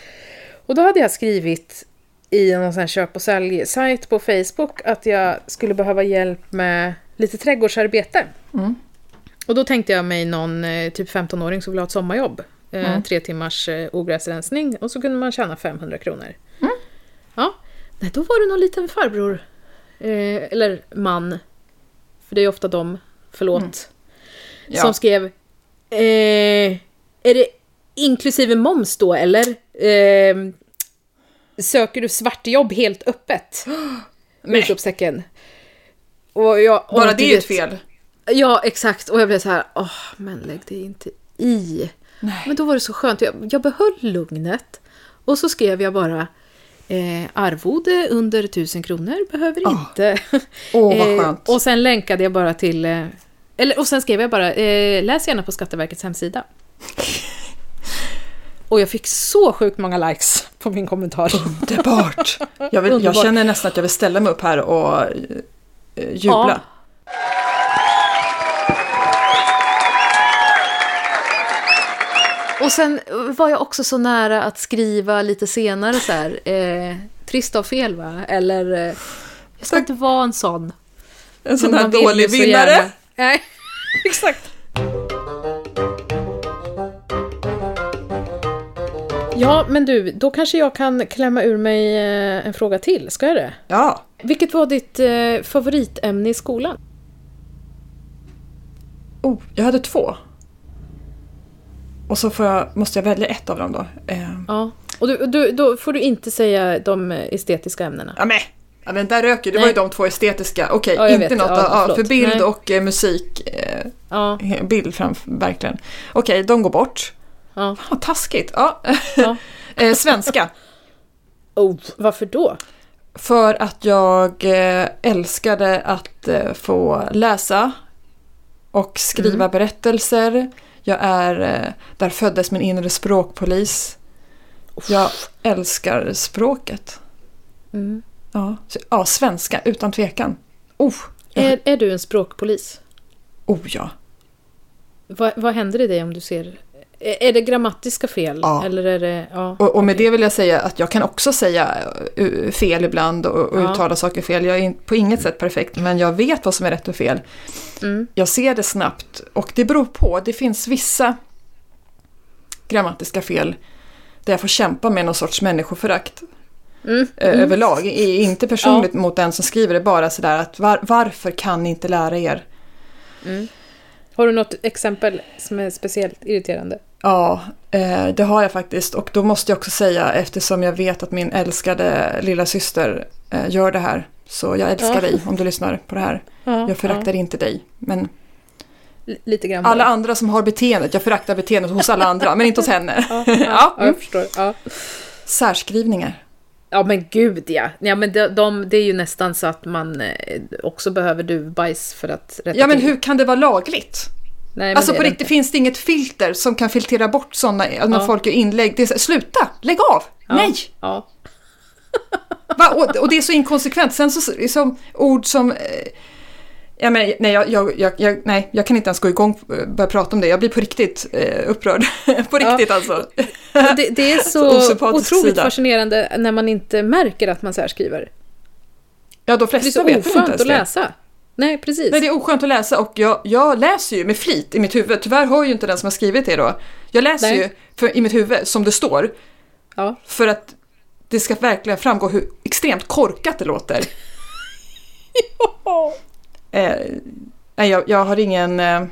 Och då hade jag skrivit i någon sån här köp och sälj-sajt på Facebook att jag skulle behöva hjälp med lite trädgårdsarbete. Och då tänkte jag mig någon eh, typ 15-åring som ville ha ett sommarjobb. Eh, Tre timmars eh, ogräsrensning och så kunde man tjäna 500 kronor. Ja, Nej, då var det någon liten farbror. Eh, eller man. För det är ofta de, förlåt. Ja. Som skrev... Eh, är det inklusive moms då, eller? Eh, söker du svartjobb helt öppet? Utropstecken. Och jag, och Bara du det är ju ett vet- fel. Ja, exakt. Och jag blev så här, åh, men lägg dig inte i. Men då var det så skönt. Jag, jag behöll lugnet. Och så skrev jag bara, eh, arvode under 1000 kronor behöver inte. Ah. Eh, Åh, vad skönt. och sen länkade jag bara till, eh, eller och sen skrev jag bara, eh, läs gärna på Skatteverkets hemsida. och jag fick så sjukt många likes på min kommentar. Underbart! Jag, vill, jag Underbart. känner nästan att jag vill ställa mig upp här och eh, jubla. Och sen var jag också så nära att skriva lite senare så här, eh, trist av fel va? Eller, eh, jag ska inte vara en sån. En sån Men här man vill ju dålig så vinnare. gärna. Nej, exakt. Ja, men du, då kanske jag kan klämma ur mig eh, en fråga till. Ska jag det? Ja. Vilket var ditt eh, favoritämne i skolan? Oh, jag hade två. Och så får jag, måste jag välja ett av dem då. Eh, Ja. Och du, du, då får du inte säga de eh, estetiska ämnena. ja, men, ja men där rök ju. Det var ju de två estetiska. Okej, Ja, jag inte vet. något. Ja, Ja, förlåt. för bild Nej. och eh, musik. Eh, Ja, bild framför, verkligen. Okej, de går bort. ja. Fan, vad taskigt. Ja. Ja. eh, svenska. Oh, varför då? För att jag eh, älskade att eh, få läsa och skriva berättelser. Jag är, eh, där föddes min inre språkpolis. Jag älskar språket. Mm. Ja, så, ja svenska utan tvekan. Oh, jag, Är, är du en språkpolis? oh ja. Vad, vad händer i dig om du ser... Är, är det grammatiska fel? Ja. Eller är det... Ja. Och, och med det vill jag säga att jag kan också säga eh, fel ibland och, och Ja. uttala saker fel. Jag är in- på inget sätt perfekt, men jag vet vad som är rätt och fel. Mm. Jag ser det snabbt och det beror på. Det finns vissa grammatiska fel där jag får kämpa med någon sorts människoförakt. Mm. eh, Överlag, I- inte personligt mot den som skriver det, bara sådär att var, varför kan ni inte lära er? Har du något exempel som är speciellt irriterande? Ja, eh, det har jag faktiskt. Och då måste jag också säga, eftersom jag vet att min älskade lilla syster eh, gör det här, så jag älskar Ja. dig om du lyssnar på det här. Ja, Jag föraktar inte dig, men ja. L- Lite grann. alla bara. andra som har beteendet, jag föraktar beteendet hos alla andra, men inte hos henne. Ja, Ja, jag förstår. Ja. Särskrivningar. ja, men gud ja. ja men de, de, det är ju nästan så att man eh, också behöver duvbajs för att rätta Ja, men till. hur kan det vara lagligt? Nej, men Alltså det på är det riktigt, finns det inget filter som kan filtrera bort sådana, när Ja. folk gör inlägg? Det är så, sluta! Lägg av! Ja. Nej! Ja. Va? Och, och det är så inkonsekvent. Sen så, liksom, ord som... Eh, ja, men, nej, jag, jag, jag, jag, nej, jag kan inte ens gå igång och börja prata om det. Jag blir på riktigt eh, upprörd. på riktigt alltså. Och Det, det är Så så osympatisk otroligt sida. fascinerande när man inte märker att man särskriver. Ja, de Det är flesta så vet väl inte oskönt ens att det. läsa. Nej, precis. Nej, det är oskönt att läsa och jag, jag läser ju med flit i mitt huvud. Tyvärr hör ju inte den som har skrivit det då. Jag läser Nej. ju för, i mitt huvud som det står Ja. för att det ska verkligen framgå hur extremt korkat det låter. Eh, nej, jag, jag har ingen... Eh,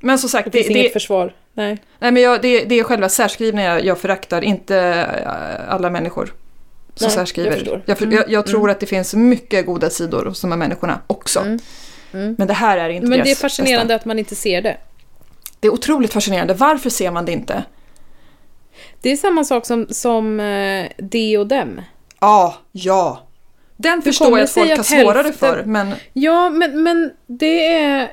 men som sagt, Det det, finns det, inget försvar. Nej. nej, men jag, det, det är själva särskrivningen jag, jag föraktar, inte eh, alla människor som Nej, särskriver. jag förstår. Mm, jag, för- jag, jag tror att det finns mycket goda sidor hos de här människorna också. Mm. Mm. Men det här är inte Men deras det är bästa. fascinerande att man inte ser det. Det är otroligt fascinerande. Varför ser man det inte? Det är samma sak som, som eh, de och dem. Ja, ja. Den förstår kommer jag att folk säga har att svårare hälften- för, men Ja, men, men det är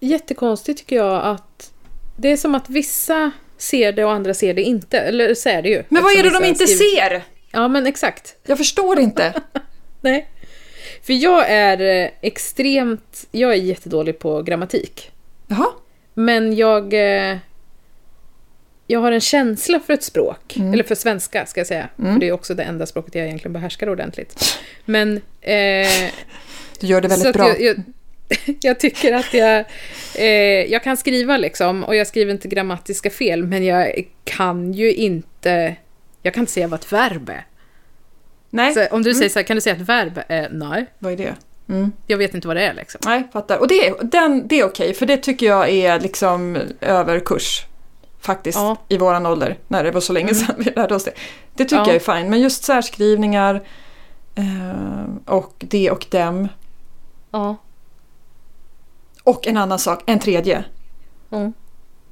jättekonstigt tycker jag att det är som att vissa ser det och andra ser det inte. Eller så är det ju. Men vad är det eftersom de vissa inte skriver- ser? Ja, men exakt. Jag förstår inte. Nej. För jag är eh, extremt... Jag är jättedålig på grammatik. Jaha. Men jag... eh, Jag har en känsla för ett språk. Mm. Eller för svenska, ska jag säga. För det är också det enda språket jag egentligen behärskar ordentligt. Men... Eh, Du gör det så väldigt att bra. Jag, jag, jag tycker att jag, eh, jag kan skriva liksom och jag skriver inte grammatiska fel men jag kan ju inte, jag kan inte säga vad ett verb är. Nej, Så om du säger så här, kan du säga ett verb? Eh, nej, vad är det? Mm. jag vet inte vad det är liksom. Nej, fattar. Och det, är- den, det är okej, för det tycker jag är liksom överkurs. Faktiskt, Ja. Mm. i våran ålder. När det var så länge sedan vi lärde oss det. Det tycker Ja. jag är fint. Men just särskrivningar eh, och det och dem. Ja. Och en annan sak, en tredje. Mm.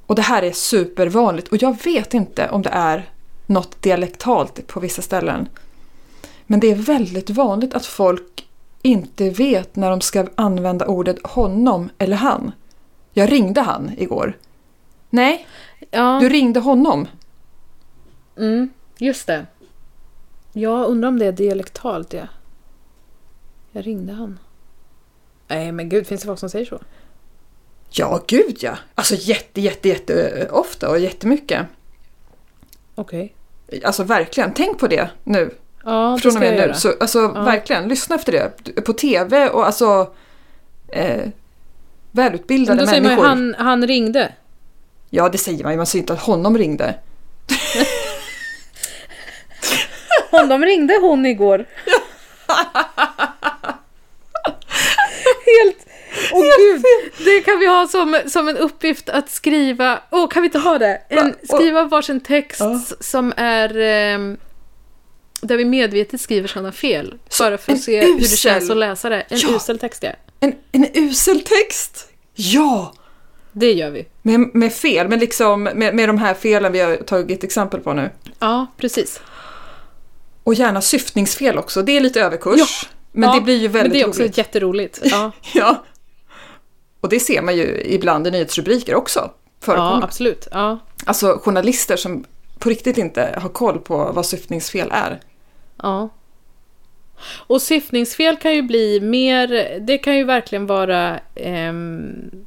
Och det här är supervanligt och jag vet inte om det är något dialektalt på vissa ställen. Men det är väldigt vanligt att folk inte vet när de ska använda ordet honom eller han. Jag ringde han igår. Nej, ja. du ringde honom. Mm, just det. Jag undrar om det är dialektalt ja. Jag ringde han. Nej men gud, finns det folk som säger så? Ja, gud ja. Alltså jätte, jätte, jätte eh, ofta och jättemycket. Okej. Alltså verkligen, tänk på det nu. Ja, det Från och ska jag med nu. göra. Så, alltså, Verkligen, lyssna efter det. På TV och alltså eh, Men välutbildade då säger man människor. ju han, han ringde. Ja, det säger man ju. Man säger inte att honom ringde. Honom ringde hon igår. Helt... Åh gud, det kan vi ha som, som en uppgift att skriva... Åh, kan vi inte ha det? En, och- skriva varsin text Ja. som är... ehm, där vi medvetet skriver sådana fel. Bara för en att se hur det usel- känns att läsa det. En Ja. usel text, ja. En, en usel text! Ja! Det gör vi. Med, med fel, men liksom med, med de här felen vi har tagit exempel på nu. Ja, precis. Och gärna syftningsfel också. Det är lite överkurs. Men ja, det blir ju väldigt Men det är också roligt. jätteroligt. Ja, Ja. Och det ser man ju ibland i nyhetsrubriker också. ja Ja. absolut. Ja. Alltså journalister som på riktigt inte har koll på vad syftningsfel är. Ja. Och syftningsfel kan ju bli mer, det kan ju verkligen vara ehm,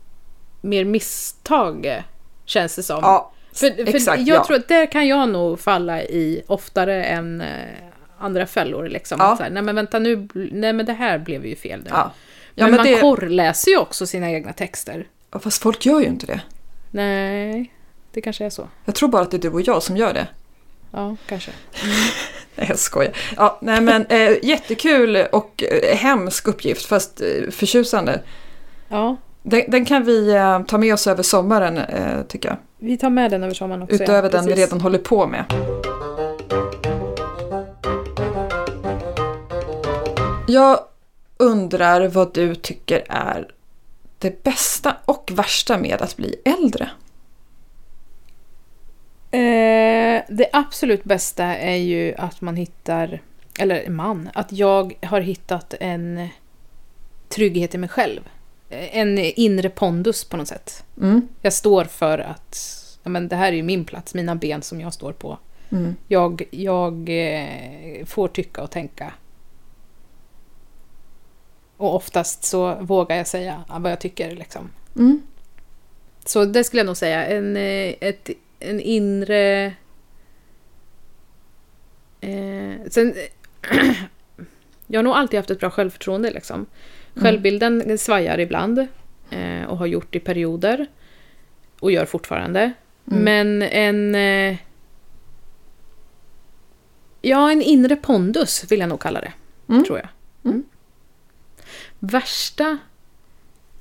mer misstag, känns det som. Ja, för för exakt, jag ja. tror att där kan jag nog falla i oftare än eh, andra fällor. Liksom. Ja. Att Så här, nej men vänta nu, bl- nej men det här blev ju fel nu. Ja. Ja, men, men man det- korrläser ju också sina egna texter. Ja, Fast folk gör ju inte det. Nej, det kanske är så. Jag tror bara att det är du och jag som gör det. Ja, kanske. Nej, jag skojar. Ja, nej, men, eh, jättekul och eh, hemsk uppgift, fast eh, förtjusande. Ja, Den, den kan vi eh, ta med oss över sommaren, eh, tycker jag. vi tar med den över sommaren också. ja. Utöver den vi Precis. redan håller på med. Jag undrar vad du tycker är det bästa och värsta med att bli äldre? Eh, det absolut bästa är ju att man hittar, eller man, att jag har hittat en trygghet i mig själv. Eh, En inre pondus på något sätt. Mm. Jag står för att ja, men det här är ju min plats, mina ben som jag står på. Mm. Jag, jag eh, får tycka och tänka. Och oftast så vågar jag säga ja, vad jag tycker. Liksom. Mm. Så det skulle jag nog säga. En, eh, ett, en inre... Eh, sen, Jag har nog alltid haft ett bra självförtroende. Liksom. Mm. Självbilden svajar ibland eh, och har gjort i perioder och gör fortfarande. Mm. Men en... Eh, ja, en inre pondus vill jag nog kalla det, Mm. tror jag. Värsta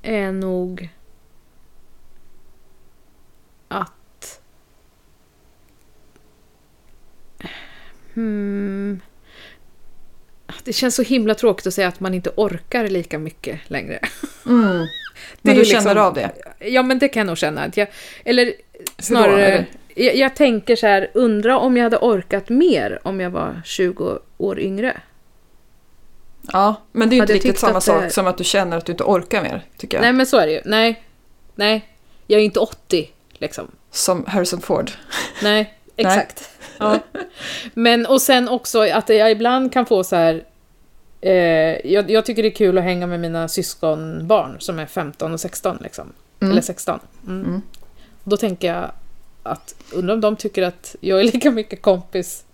är nog att... Hmm. Det känns så himla tråkigt att säga att man inte orkar lika mycket längre. Mm. Det Men är du ju känner liksom- av det? Ja, men det kan jag nog känna. Att jag, eller snarare, jag, jag tänker så här, undra om jag hade orkat mer om jag var 20 år yngre. Ja, men det är ju inte Hade jag riktigt tyckt samma att sak det- som att du känner att du inte orkar mer, tycker jag. Nej, men så är det ju. Nej, nej. Jag är ju inte 80, liksom. Som Harrison Ford. Nej, exakt. Ja. Men och sen också att jag ibland kan få så här... Eh, jag, jag tycker det är kul att hänga med mina syskonbarn som är 15 och 16. Liksom. Eller 16. Mm. Mm. Då tänker jag att undrar om de tycker att jag är lika mycket kompis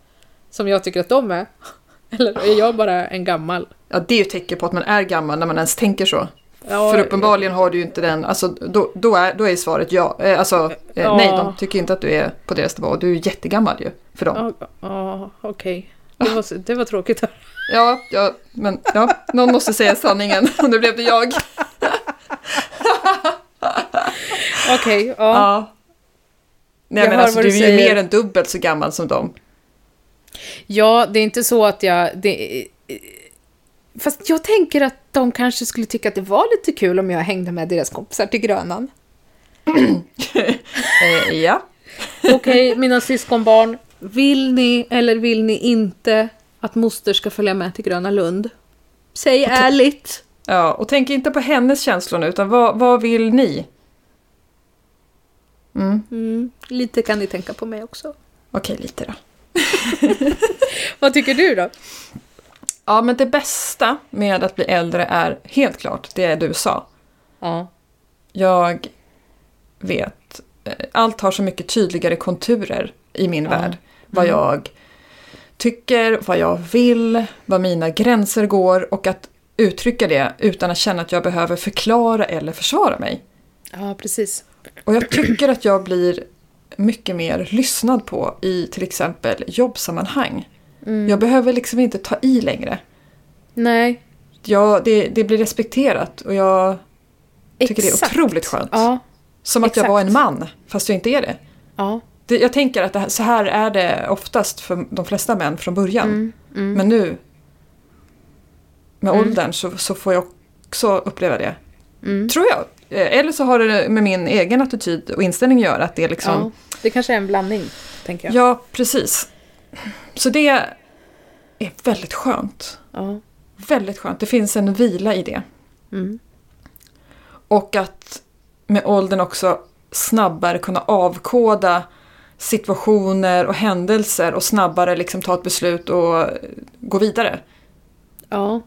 som jag tycker att de är. Eller är jag bara en gammal? Ja, det är ju ett tecken på att man är gammal när man ens tänker så. Ja, För uppenbarligen har du ju inte den, alltså då, då, är, då är svaret ja. Eh, Alltså, eh, Ja. nej, de tycker inte att du är på deras nivå. Du är ju jättegammal ju, för dem. Ja, ja okej. Det, var, det var tråkigt. Ja, ja, men ja, någon måste säga sanningen och nu blev det jag. Okej, ja. Ja. Nej, Jag men hör alltså, vad du är du ju säger. mer än dubbelt så gammal som dem. Ja, det är inte så att jag... Det, fast jag tänker att de kanske skulle tycka att det var lite kul om jag hängde med deras kompisar till Grönan. Eh, ja. Okej, mina syskonbarn. Vill ni eller vill ni inte att moster ska följa med till Gröna Lund? Säg ärligt. ja, och tänk inte på hennes känslor nu, utan vad, vad vill ni? Mm, lite kan ni tänka på mig också. Okej, lite då. Vad tycker du då? Ja, men det bästa med att bli äldre är helt klart det du sa. Ja. Jag vet. eh, Allt har så mycket tydligare konturer i min värld. Vad Mm. jag tycker, vad jag vill, vad mina gränser går och att uttrycka det utan att känna att jag behöver förklara eller försvara mig. Ja, precis. Och jag tycker att jag blir mycket mer lyssnad på i till exempel jobbsammanhang. Mm. Jag behöver liksom inte ta i längre. Nej, Jag, det, det blir respekterat och jag tycker exakt. det är otroligt skönt. Ja, Som att jag var en exakt. man, fast jag inte är det. ja. det jag tänker att det här, så här är det oftast för de flesta män från början. Mm, Men nu, med åldern, så, så får jag också uppleva det. Mm. Tror jag. Eh, Eller så har det med min egen attityd och inställning att göra. Att det är liksom... ja. Det kanske är en blandning, tänker jag. Ja, precis. Så det är väldigt skönt. Ja. Väldigt skönt. Det finns en vila i det. Mm. Och att med åldern också snabbare kunna avkoda situationer och händelser och snabbare liksom ta ett beslut och eh, gå vidare. ja.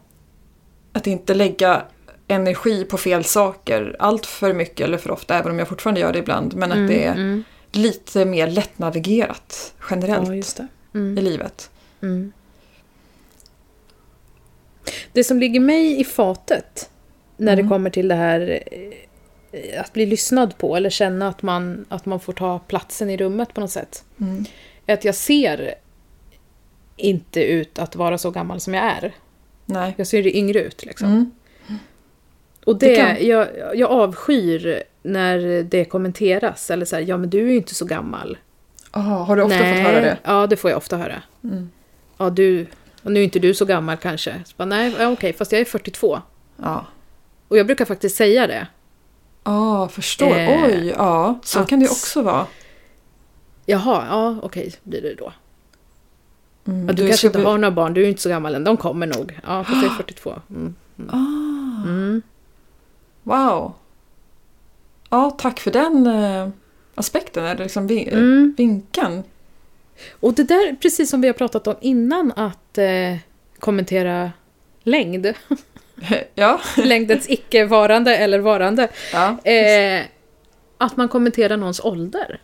Att inte lägga energi på fel saker allt för mycket eller för ofta, även om jag fortfarande gör det ibland. Men Mm, att det är lite mer lättnavigerat generellt Ja, just det. i livet. Det som ligger mig i fatet när Mm. det kommer till det här eh, att bli lyssnad på eller känna att man, att man får ta platsen i rummet på något sätt. Mm. Är att jag ser inte ut att vara så gammal som jag är. Nej. Jag ser ju yngre ut liksom. Mm. Och Det det, kan- jag, jag avskyr när det kommenteras. Eller så här, ja men du är ju inte så gammal. Aha, Ah, har du ofta fått höra det? Mm. Ja, det får jag ofta höra. Ja, du, och nu är inte du så gammal kanske. Så bara, nej, ja, okej, fast jag är 42. Ja. Och jag brukar faktiskt säga det. Ja, Ah, förstår. Eh, Oj, ja. Så att- kan det ju också vara. Jaha, ja okej blir det då. Mm, Ja, du, du kanske ska Ah! inte bli- har några barn, du är ju inte så gammal än, de kommer nog. Ja, fast jag är 42. Mm. Wow. Ja, tack för den eh, aspekten, eller liksom vi- vinkeln. Och det där, precis som vi har pratat om innan, att eh, kommentera längd. ja. Längdens icke-varande eller varande. Ja. Eh, att man kommenterar någons ålder.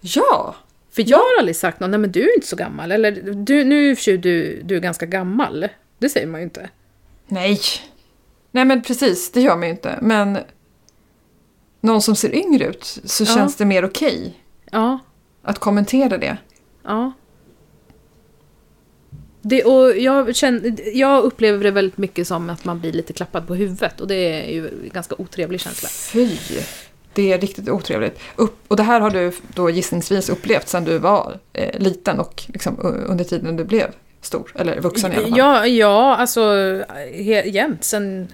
ja. För jag har aldrig sagt någon, nej men du är inte så gammal, eller du, nu är i och för sig du, du är ganska gammal. Det säger man ju inte. Nej! Nej men precis, det gör man ju inte. Men någon som ser yngre ut så Ja. känns det mer okej Ja, att kommentera det. ja. Det, och jag, känner, jag upplever det väldigt mycket som att man blir lite klappad på huvudet och det är ju en ganska otrevlig känsla. Fy! Det är riktigt otrevligt. Upp, och det här har du då gissningsvis upplevt sedan du var eh, liten och liksom, u- under tiden du blev stor, eller vuxen i alla fall. Ja, ja alltså he, jämt sen,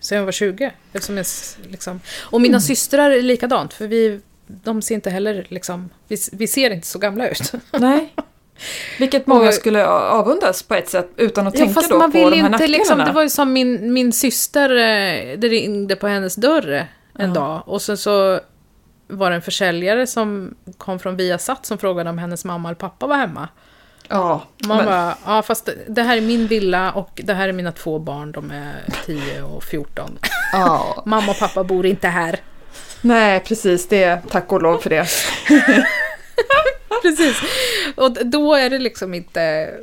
sen jag var 20. Eftersom jag, s- liksom. Och mina systrar är likadant, för vi, de ser inte heller liksom, vi, s- vi ser inte så gamla ut. Nej. Vilket många Och- skulle a- avundas på ett sätt utan att tänka då på de här nackdelarna. liksom, det var ju som min, min syster, eh, det ringde på hennes dörr en dag och sen så var det en försäljare som kom från Viasat som frågade om hennes mamma eller pappa var hemma. Ja, Man men, bara, ja fast det här är min villa och det här är mina två barn, de är 10 och 14. ja. Mamma och pappa bor inte här. Nej, precis. Det, tack och lov för det. Precis. Och d- då är det liksom inte...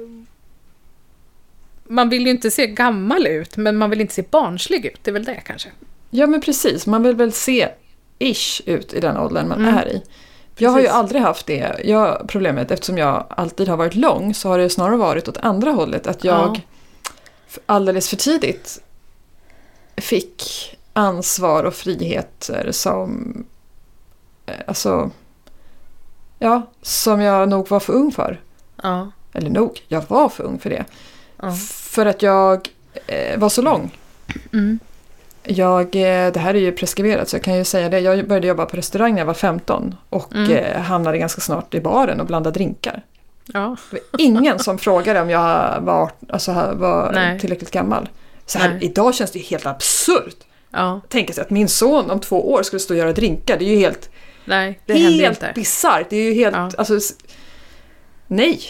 Man vill ju inte se gammal ut, men man vill inte se barnslig ut. Det är väl det kanske. Ja, men precis. Man vill väl se ish ut i den åldern man är i. Jag har ju Mm. Precis. aldrig haft det jag, problemet eftersom jag alltid har varit lång så har det snarare varit åt andra hållet att jag Ja. f- alldeles för tidigt fick ansvar och friheter som eh, alltså ja, som jag nog var för ung för. Ja. Eller nog, jag var för ung för det. Ja. För att jag eh, var så lång. Mm. Jag, eh, det här är ju preskriberat så jag kan ju säga det. Jag började jobba på restaurang när jag var 15 och Mm. eh, hamnade ganska snart i baren och blandade drinkar. Ja. Det var ingen som frågade om jag var, alltså, var Nej. tillräckligt gammal. Så här, Nej. idag känns det ju helt absurt. ja. Tänka sig att min son om två år skulle stå och göra drinkar. Det är ju helt, Nej, det händer ju inte. helt bisarrt. Det är ju helt, Ja. alltså, s- nej.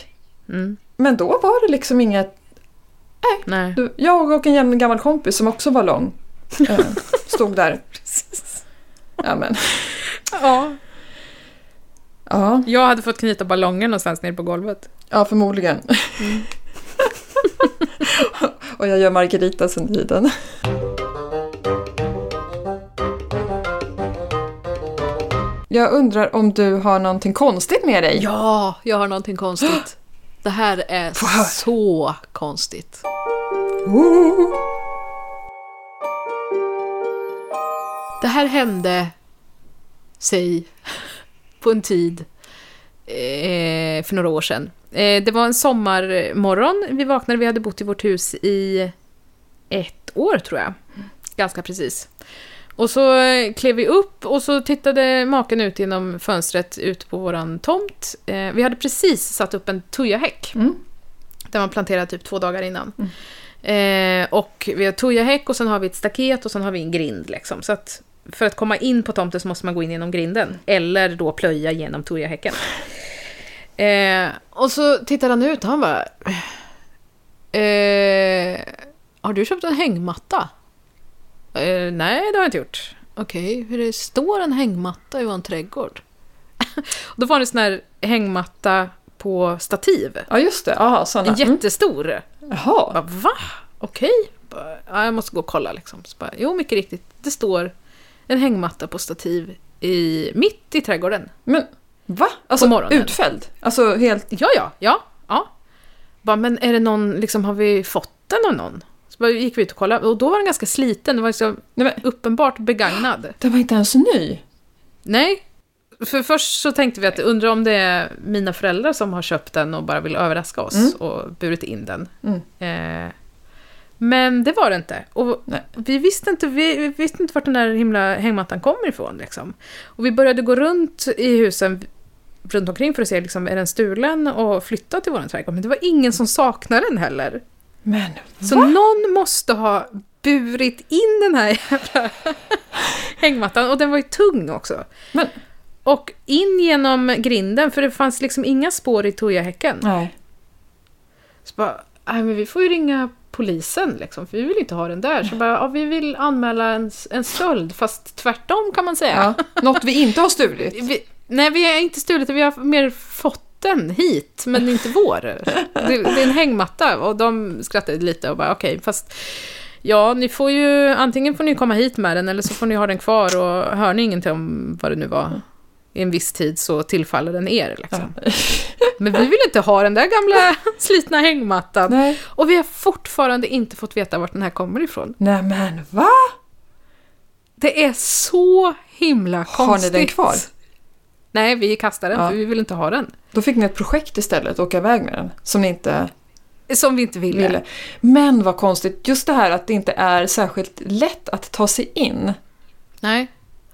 Mm. Men då var det liksom inget Nej. Du, Jag och en jämn gammal kompis som också var lång eh, stod där. Ja, men. Ja. Ja, Jag hade fått knyta ballongen någonstans nere på golvet. ja förmodligen. och jag gör margaritas under tiden. Jag undrar om du har någonting konstigt med dig? Ja, jag har någonting konstigt. Det här är så konstigt. Oh, Det här hände, säg, på en tid. eh, för några år sedan. Eh, det var en sommarmorgon. Vi vaknade, vi hade bott i vårt hus i ett år tror jag. Ganska precis. Och så eh, klev vi upp och så tittade maken ut genom fönstret ut på våran tomt. Eh, vi hade precis satt upp en tujahäck. Mm. Den var planterad typ två dagar innan. Eh, och vi har tujahäck och sen har vi ett staket och sen har vi en grind liksom. Så att för att komma in på tomten så måste man gå in genom grinden. Eller då plöja genom tujahäcken. Eh, Och så tittar han ut och han bara... Eh, har du köpt en hängmatta? eh, nej, det har jag inte gjort. Okej, hur det står en hängmatta i vår trädgård? Då var det en sån här hängmatta på stativ. ja, just det. Aha, såna. En Mm. jättestor. Jaha. Bara, va? Okej? Bara, Ja, jag måste gå och kolla liksom. Så bara, jo, mycket riktigt. Det står en hängmatta på stativ i, mitt i trädgården. Men va? På Alltså morgonen. utfälld? Alltså helt... Ja, ja, ja. ja. Bara, men är det någon, liksom, har vi fått den av någon? Så bara, gick vi ut och kollade och då var den ganska sliten. Den var liksom Nej, men, uppenbart begagnad. den var inte ens ny. Nej. För först så tänkte vi att undrar om det är mina föräldrar som har köpt den och bara vill överraska oss Mm. och burit in den. Mm. Eh, men det var det inte. Och Nej. vi, visste inte vi, vi visste inte vart den där himla hängmattan kommer ifrån. Liksom. Och vi började gå runt i husen runt omkring för att se, liksom, är den stulen och flyttad till vår trädgård? Men det var ingen som saknade den heller. Men Så någon måste ha burit in den här jävla hängmattan. Och den var ju tung också. Men- Och in genom grinden, för det fanns liksom inga spår i Tujahäcken. Nej. Så bara, nej men vi får ju ringa polisen liksom, för vi vill inte ha den där. Så bara, ja, vi vill anmäla en, en stöld, fast tvärtom kan man säga. Ja. Något vi inte har stulit. Vi, nej, vi har inte stulit det, vi har mer fått hösten hit, men inte vår. Det, det är en hängmatta och de skrattade lite och bara okej, fast ja, ni får ju, antingen får ni komma hit med den eller så får ni ha den kvar och hör ni ingenting om vad det nu var i en viss tid så tillfaller den er. Liksom. Men vi vill inte ha den där gamla slitna hängmattan. Nej. Och vi har fortfarande inte fått veta vart den här kommer ifrån. Nej men va? Det är så himla konstigt. Har ni den kvar? Nej, vi kastar den Ja. för vi vill inte ha den. Då fick ni ett projekt istället, åka iväg med den, som ni inte Som vi inte ville. ville. Men vad konstigt, just det här att det inte är särskilt lätt att ta sig in Nej.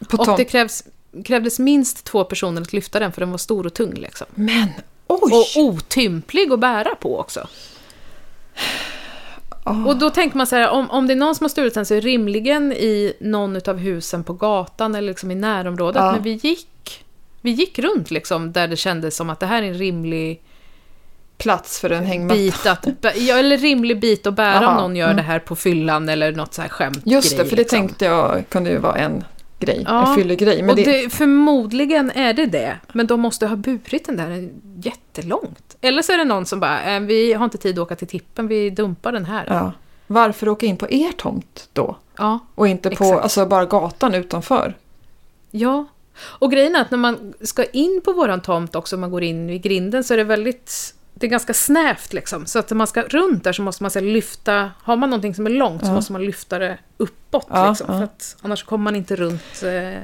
på Och det tomten. krävs, krävdes minst två personer att lyfta den för den var stor och tung. Liksom. Men oj! Och otymplig att bära på också. Ah. Och då tänker man så här, om, om det är någon som har stulit den så är det rimligen i någon av husen på gatan eller liksom i närområdet. Ja. Men vi gick, vi gick runt liksom där det kändes som att det här är en rimlig Plats för en hängmatta. bit att, bä- ja, eller rimlig bit att bära om Jaha, mm. någon gör det här på fyllan eller något så här skämt. Just det, för det tänkte jag kunde ju vara en grej, liksom. Ja. en fyllig grej. Men Och det, det, förmodligen är det det, men de måste ha burit den där jättelångt. Eller så är det någon som bara, "Eh, vi har inte tid att åka till tippen, vi dumpar den här. ja. Varför åka in på er tomt då? Ja. Och inte på Exakt. alltså, bara gatan utanför? Ja. Och grejen är att när man ska in på våran tomt också, man går in i grinden, så är det väldigt... Det är ganska snävt liksom. Så att när man ska runt där så måste man så här, lyfta... Har man någonting som är långt så måste man lyfta det uppåt Ja, liksom. ja. För att annars kommer man inte runt... Eh,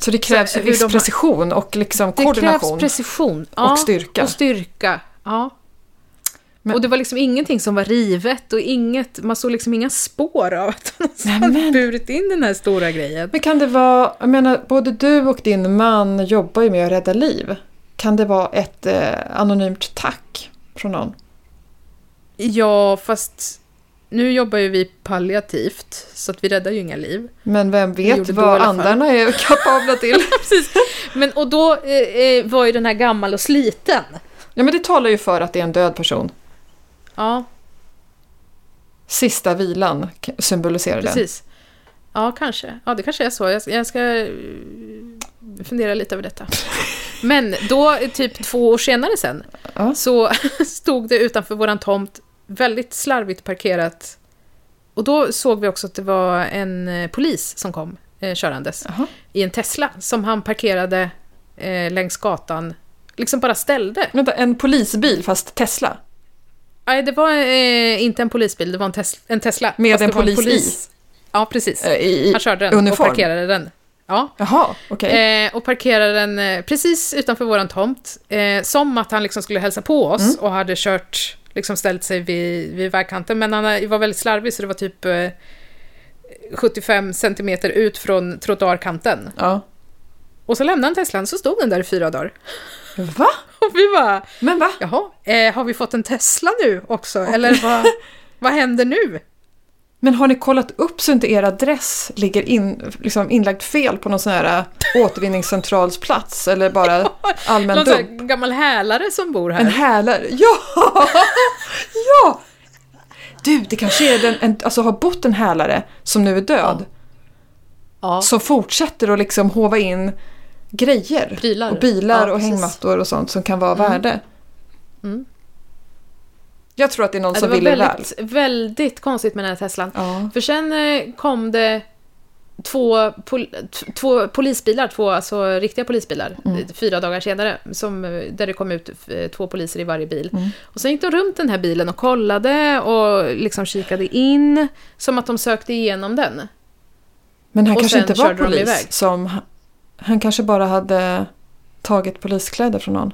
Så det krävs Så ju hur viss de har- precision och liksom det krävs koordination. precision. styrka. Och styrka. Ja. Men- Och det var liksom ingenting som var rivet och inget... Man såg liksom inga spår av att någon Nej, men- hade burit in den här stora grejen. Men kan det vara, jag menar både du och din man jobbar ju med att rädda liv. Kan det vara ett eh, anonymt tack från någon? Ja, fast nu jobbar ju vi palliativt, så att vi räddar ju inga liv. Men vem vet gjorde då i vad alla fall. andarna är kapabla till? Precis. Men, och då eh, eh, var ju den här gammal och sliten. ja men det talar ju för att det är en död person. Ja, Sista vilan k- symboliserar den. precis. Ja, kanske. Ja, det kanske är så. Jag, jag ska eh, fundera lite över detta. Men då, eh, typ två år senare sen, Ja. så stod det utanför våran tomt, väldigt slarvigt parkerat. Och då såg vi också att det var en eh, polis som kom eh, körandes. Jaha. i en Tesla som han parkerade eh, längs gatan. Liksom bara ställde. Vänta, en polisbil fast Tesla? Nej, det var eh, inte en polisbil, det var en, tes- en Tesla. Med Fast en det var polis i? Ja, precis. Eh, I, i Han körde den uniform? och parkerade den. Ja. Jaha, okej. Eh, och parkerade den eh, precis utanför våran tomt. Eh, som att han liksom skulle hälsa på oss Mm. och hade kört, liksom ställt sig vid, vid vägkanten. Men han eh, var väldigt slarvig så det var typ eh, 75 centimeter ut från trottoarkanten. Ja. Och så lämnade han Teslan så stod den där i fyra dagar. Va? Och vi bara, Men va? Jaha, eh, har vi fått en Tesla nu också? Eller vad, vad händer nu? Men har ni kollat upp så inte er adress ligger in, liksom inlagt fel på någon sån här eh, återvinningscentralsplats eller bara allmän Någon sån här dump? gammal hälare som bor En här. hälare? Ja! Ja! Du, det kanske är den, en, alltså har bott en hälare som nu är död. Ja. Som fortsätter att liksom håva in grejer. Prylar. Och bilar Ja, och precis. hängmattor och sånt som kan vara värde. Mm. Jag tror att det är någon Ja, det som var vill er väl. väldigt, väldigt konstigt med den här Teslan. Ja. För sen eh, kom det två, pol, t- två polisbilar, två alltså riktiga polisbilar, eh, fyra dagar senare, som, eh, där det kom ut eh, två poliser i varje bil. Och sen gick de runt den här bilen och kollade och liksom kikade in, som att de sökte igenom den. Men han Och kanske sen inte var körde de polis. iväg. Som, han kanske bara hade tagit poliskläder från någon.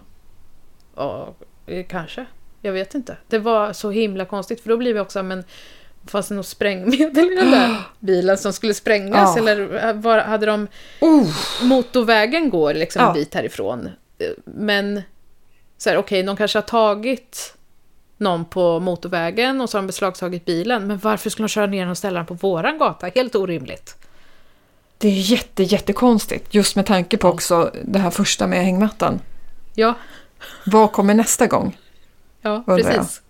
Ja, eh, kanske. Jag vet inte. Det var så himla konstigt, för då blir vi också, men fanns det något sprängmedel i den där bilen som skulle sprängas? Ja. Eller eh, var, hade de... Oh, motorvägen går liksom Ja. en bit härifrån. Eh, Men så här, okej, de kanske har tagit någon på motorvägen och så har de beslagtagit bilen. Men varför skulle de köra ner den och ställa den på våran gata? Helt orimligt. det är jätte, jättekonstigt. Just med tanke på också det här första med hängmattan. Ja, Vad kommer nästa gång? ja Undrar jag. precis.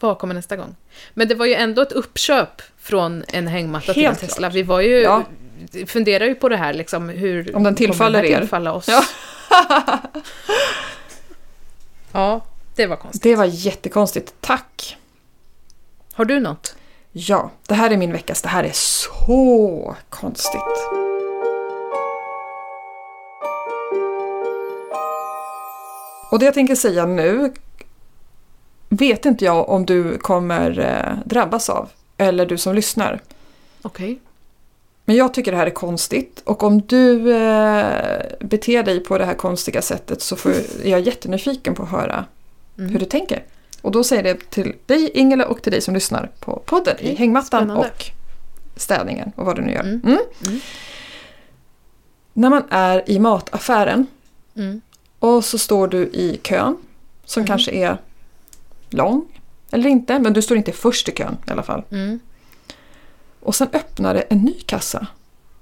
Vad kommer nästa gång? Men det var ju ändå ett uppköp från en hängmatta till en Helt Tesla. Vi var ju, Ja. funderar ju på det här liksom, hur Om den tillfaller kommer den här er. tillfalla oss. Ja. Ja, det var konstigt. Det var jättekonstigt. Tack! Har du något? Ja, det här är min veckas. Det här är så konstigt. Och det jag tänker säga nu vet inte jag om du kommer eh, drabbas av, eller du som lyssnar. Okej. Men jag tycker det här är konstigt och om du eh, beter dig på det här konstiga sättet så får, är jag jättenyfiken på att höra hur du tänker. Och då säger det till dig Ingela och till dig som lyssnar på podden i hängmattan spännande. och städningen och vad du nu gör. Mm. När man är i mataffären Mm. och så står du i kön som kanske är lång eller inte, men du står inte först i kön i alla fall. Mm. Och sen öppnar det en ny kassa.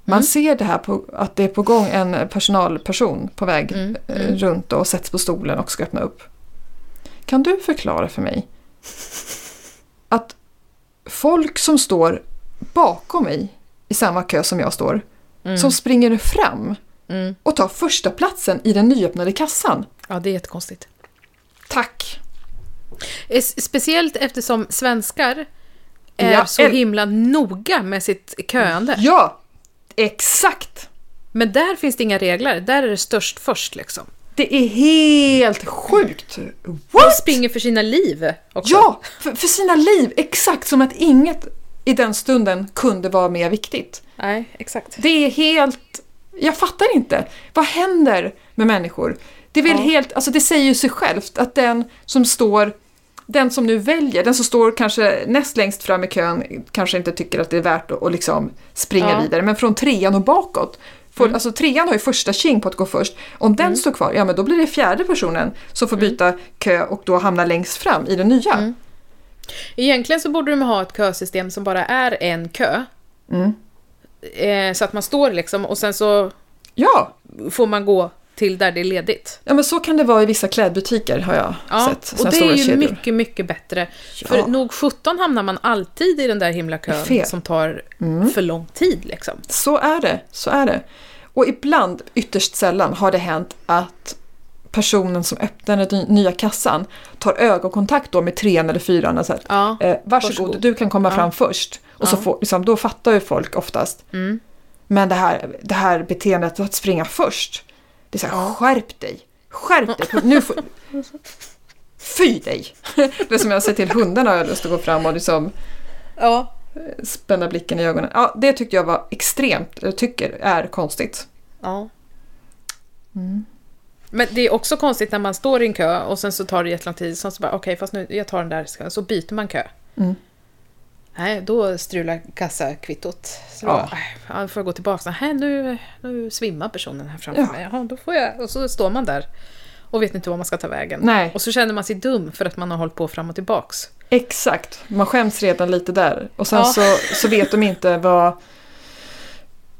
Man ser det här på, att det är på gång en personalperson på väg eh, runt och sätts på stolen och ska öppna upp. Kan du förklara för mig att folk som står bakom mig i samma kö som jag står, som springer fram Mm. och tar första platsen i den nyöppnade kassan. Ja, det är jättekonstigt. Tack! Eh, Speciellt eftersom svenskar är Ja, så el- himla noga med sitt köande. Ja, exakt! Men där finns det inga regler, där är det störst först liksom. Det är helt sjukt! De What? springer för sina liv också. Ja, för, för sina liv. Exakt som att inget i den stunden kunde vara mer viktigt. Nej, exakt. Det är helt... Jag fattar inte. Vad händer med människor? Det, är väl helt, alltså det säger ju sig självt att den som står den som nu väljer, den som står kanske näst längst fram i kön kanske inte tycker att det är värt att, att liksom springa Ja. Mm. vidare, men från trean och bakåt. För, Alltså trean har ju första tjing på att gå först. Om den står kvar, ja men då blir det fjärde personen som Mm. får byta kö och då hamnar längst fram i den nya. Egentligen så borde de ha ett kösystem som bara är en kö. Eh, så att man står liksom och sen så Ja, får man gå till där det är ledigt. Ja men så kan det vara i vissa klädbutiker har jag sett. såna och det stora är ju kedjor. mycket, mycket bättre. För nog 17 hamnar man alltid i den där himla kön Fel. som tar för lång tid liksom. Så är det, så är det. Och ibland, ytterst sällan, har det hänt att personen som öppnar den ny- nya kassan tar ögonkontakt då med trean eller fyran och säger Ja, eh, varsågod, varsågod." du kan komma fram först. Och så får, liksom, då fattar ju folk oftast. Mm. Men det här, det här beteendet att springa först, det är så här, skärp dig! Skärp dig! Nu får, fy dig! Det är som jag säger till hundarna har jag lust att gå fram och liksom Ja. spänna blicken i ögonen. Ja, det tyckte jag var extremt, jag tycker är konstigt. ja. Mm. Men det är också konstigt när man står i en kö och sen så tar det jättelång tid. Sen så bara, okej, fast nu, jag tar den där. skön. Så byter man kö. Mm. Nej, då strular kassakvittot. Så Ja. ja. då, "Aj, ja, då får jag gå tillbaka. Nej, nu, nu svimmar personen här framför Ja. mig. Jaha, då får jag. Och så står man där och vet inte var man ska ta vägen. Nej. Och så känner man sig dum för att man har hållit på fram och tillbaks. Exakt, man skäms redan lite där. Och sen Ja. så, så vet de inte vad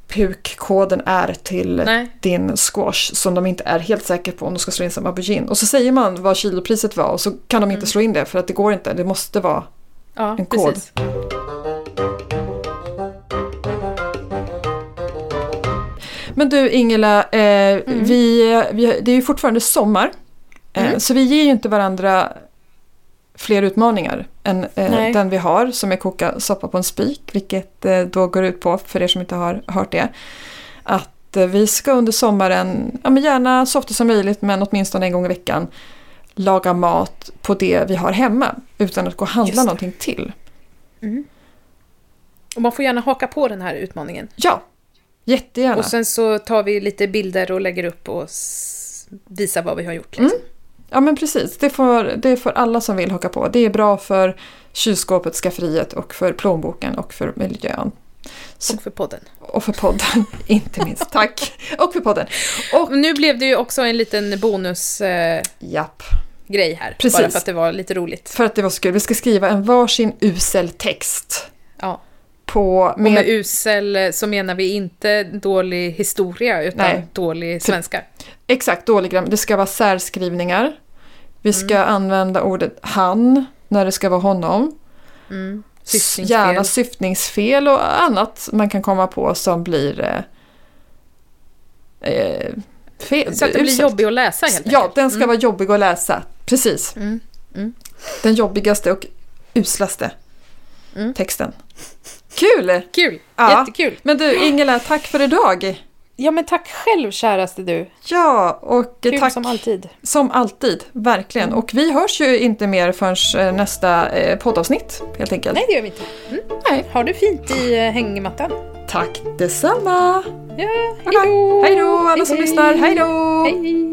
PUK-koden är till Nej. din squash som de inte är helt säkra på om de ska slå in som aubergine. Och så säger man vad kilopriset var och så kan de inte Mm. slå in det för att det går inte, det måste vara Ja, En kod. precis. Men du Ingela, eh, Mm. vi, vi, det är ju fortfarande sommar. Eh, Så vi ger ju inte varandra fler utmaningar än eh, Nej. den vi har som är koka soppa på en spik. Vilket eh, då går ut på, för er som inte har hört det, att eh, vi ska under sommaren, ja, men gärna så ofta som möjligt men åtminstone en gång i veckan, laga mat på det vi har hemma utan att gå och Just handla det. någonting till. Och man får gärna haka på den här utmaningen. Ja, jättegärna. Och sen så tar vi lite bilder och lägger upp och s- visar vad vi har gjort. Liksom. Ja men precis, det får, det får alla som vill haka på. Det är bra för kylskåpet, skafferiet och för plånboken och för miljön. Och för podden. Och för podden, inte minst. Tack! Och för podden. Och Och nu blev det ju också en liten bonusgrej japp. här. Precis. Bara för att det var lite roligt. För att det var så kul, vi ska skriva en varsin usel text. Ja. På Och med med, usel eh, så menar vi inte dålig historia utan Nej. dålig svenska. exakt dålig gram. Det ska vara särskrivningar. Vi ska använda ordet han när det ska vara honom. Mm. Syftningsfel. Syftningsfel. Gärna syftningsfel och annat man kan komma på som blir eh, eh, fel. Så att det blir uselt. jobbigt att läsa helt Ja, den ska vara jobbig att läsa. precis. Mm, mm. Den jobbigaste och uslaste Mm. texten. Kul! Kul! Ja. Jättekul! Men du Ingela, tack för idag. Ja men tack själv käraste du. Ja, och Kul tack som Mm. alltid. som alltid, verkligen. Och vi hörs ju inte mer förrän eh, nästa eh, poddavsnitt, helt enkelt. Nej det gör vi inte. Mm. Nej. Har du fint i eh, hängmattan? Tack detsamma! Ja, Okej. hejdå! Hej då alla som Hej, lyssnar, hej då! Hej!